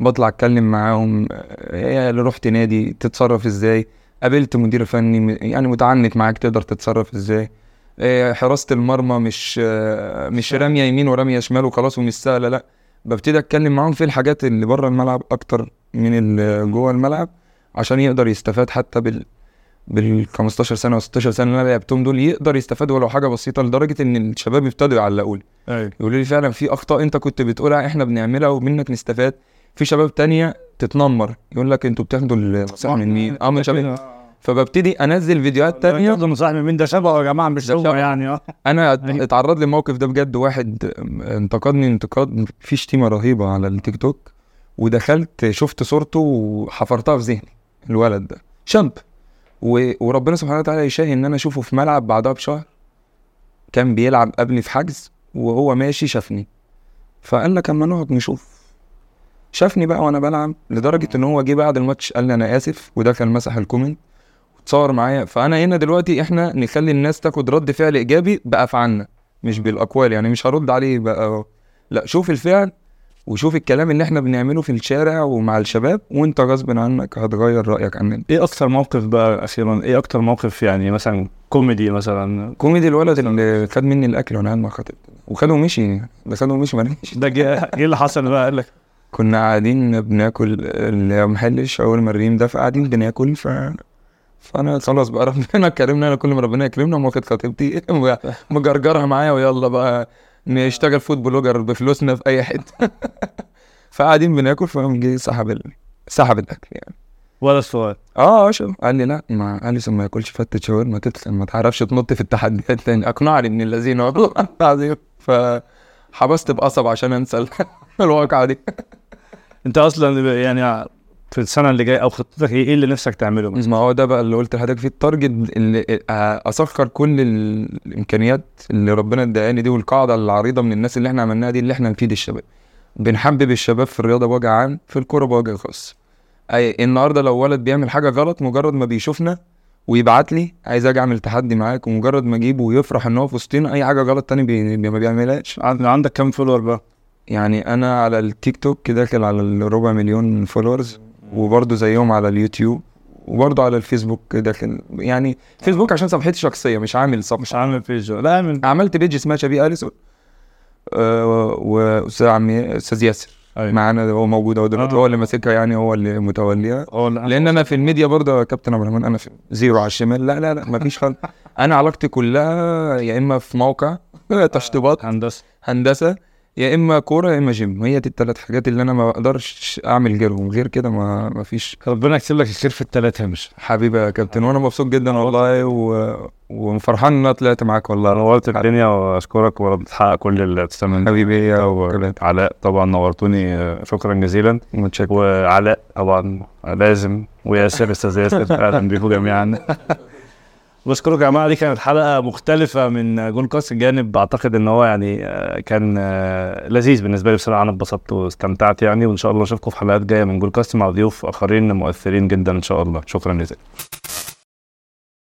بطلع اتكلم معاهم آه، إيه اللي رحت نادي تتصرف ازاي قابلت مدير فني م- يعني متعنت معاك تقدر تتصرف ازاي آه، حراسه المرمى مش آه، مش راميه يمين وراميه شمال وخلاص ومش سهله لا ببتدي اتكلم معاهم في الحاجات اللي بره الملعب اكتر من اللي جوه الملعب عشان يقدر يستفاد حتى بال بال 15 سنه و 16 سنه اللي انا لعبتهم دول يقدر يستفاد ولو حاجه بسيطه لدرجه ان الشباب ابتدوا يعلقوا لي
ايوه
يقولوا لي فعلا في اخطاء انت كنت بتقولها احنا بنعملها ومنك نستفاد في شباب تانية تتنمر يقول لك انتوا بتاخدوا النصيحه من مين؟
آه،
اه من شباب فببتدي انزل فيديوهات تانية
برضه مصاحب من مين ده شبهه يا جماعه مش
ده
هو
شبهه.
يعني اه
انا
أيوة.
اتعرض للموقف ده بجد واحد انتقدني انتقاد في شتيمه رهيبه على التيك توك ودخلت شفت صورته وحفرتها في ذهني الولد ده شاب و... وربنا سبحانه وتعالى يشاهي ان انا اشوفه في ملعب بعدها بشهر كان بيلعب قبلي في حجز وهو ماشي شافني فقال لك اما نقعد نشوف شافني بقى وانا بلعب لدرجه ان هو جه بعد الماتش قال لي انا اسف ودخل مسح الكومنت وتصور معايا فانا هنا دلوقتي احنا نخلي الناس تاخد رد فعل ايجابي بافعالنا مش بالاقوال يعني مش هرد عليه بقى لا شوف الفعل وشوف الكلام اللي احنا بنعمله في الشارع ومع الشباب وانت غصب عنك هتغير رايك عننا
ايه اكتر موقف بقى اخيرا ايه اكتر موقف يعني مثلا كوميدي مثلا
كوميدي الولد اللي خد مني الاكل وانا قاعد مع خطيبتي وخده ومشي ده خده ومشي ما رميش.
ده جه- ايه اللي حصل بقى قال لك
كنا قاعدين بناكل المحلش اول ما الريم دفع قاعدين بناكل ف فانا خلاص بقى ربنا كرمنا انا كل ما ربنا يكرمنا أقوم واخد خطيبتي مجرجرها معايا ويلا بقى نشتغل فود بلوجر بفلوسنا في اي حته فقاعدين بناكل فقام جه سحب ال- سحب الاكل يعني
ولا السؤال
اه شوف قال لي لا ما قال لي عشان ما ياكلش فتة شاورما تتخن ما تعرفش تنط في التحديات تاني اقنعني ابن الذين والله العظيم فحبست بقصب عشان انسى ال- الواقعه دي
انت اصلا يعني في السنه اللي جايه او خطتك ايه ايه اللي نفسك تعمله مثلا
ما هو ده بقى اللي قلت لحضرتك فيه التارجت اللي آه، اسخر كل ال- الامكانيات اللي ربنا اداهاني دي والقاعده العريضه من الناس اللي احنا عملناها دي اللي احنا نفيد الشباب بنحبب الشباب في الرياضه بوجه عام في الكوره بوجه خاص اي النهارده لو ولد بيعمل حاجه غلط مجرد ما بيشوفنا ويبعت لي عايز اجي اعمل تحدي معاك ومجرد ما اجيبه ويفرح ان هو في وسطنا اي حاجه غلط تاني بي بي- ما بيعملهاش
عن- عندك كام فولور بقى
يعني انا على التيك توك داخل على الربع مليون فولورز وبرضه زيهم على اليوتيوب وبرضه على الفيسبوك داخل يعني فيسبوك عشان صفحتي شخصيه مش عامل صفحه
مش عامل بيج لا اعمل
عملت بيج اسمها شبيه اليسون آه، واستاذ عمي استاذ ياسر
أيوة.
معانا هو موجود اهو دلوقتي
آه.
هو اللي ماسكها يعني هو اللي متوليها
هو اللي-
لان انا في الميديا برضه يا كابتن عبد الرحمن انا في زيرو على الشمال لا لا لا مفيش خالص انا علاقتي كلها يا اما في موقع تشطيبات
هندسه
هندسه يا اما كوره يا اما جيم هي دي الثلاث حاجات اللي انا ما بقدرش اعمل غيرهم غير كده ما ما فيش
ربنا يكتب لك الخير في الثلاثه يا باشا
حبيبي يا كابتن وانا مبسوط جدا والله و... وفرحان ان انا طلعت معاك والله
نورت الدنيا واشكرك ورب تحقق كل اللي تتمناه
حبيبي يا
و- علاء طبعا نورتوني آه، شكرا جزيلا
متشكر
وعلاء طبعا لازم وياسر استاذ ياسر اهلا بيكم جميعا بشكركم يا جماعه دي كانت حلقه مختلفه من جون كاس الجانب اعتقد ان هو يعني آه، كان آه، لذيذ بالنسبه لي بصراحه انا اتبسطت واستمتعت يعني وان شاء الله اشوفكم في حلقات جايه من جون كاست مع ضيوف اخرين مؤثرين جدا ان شاء الله شكرا جزيلا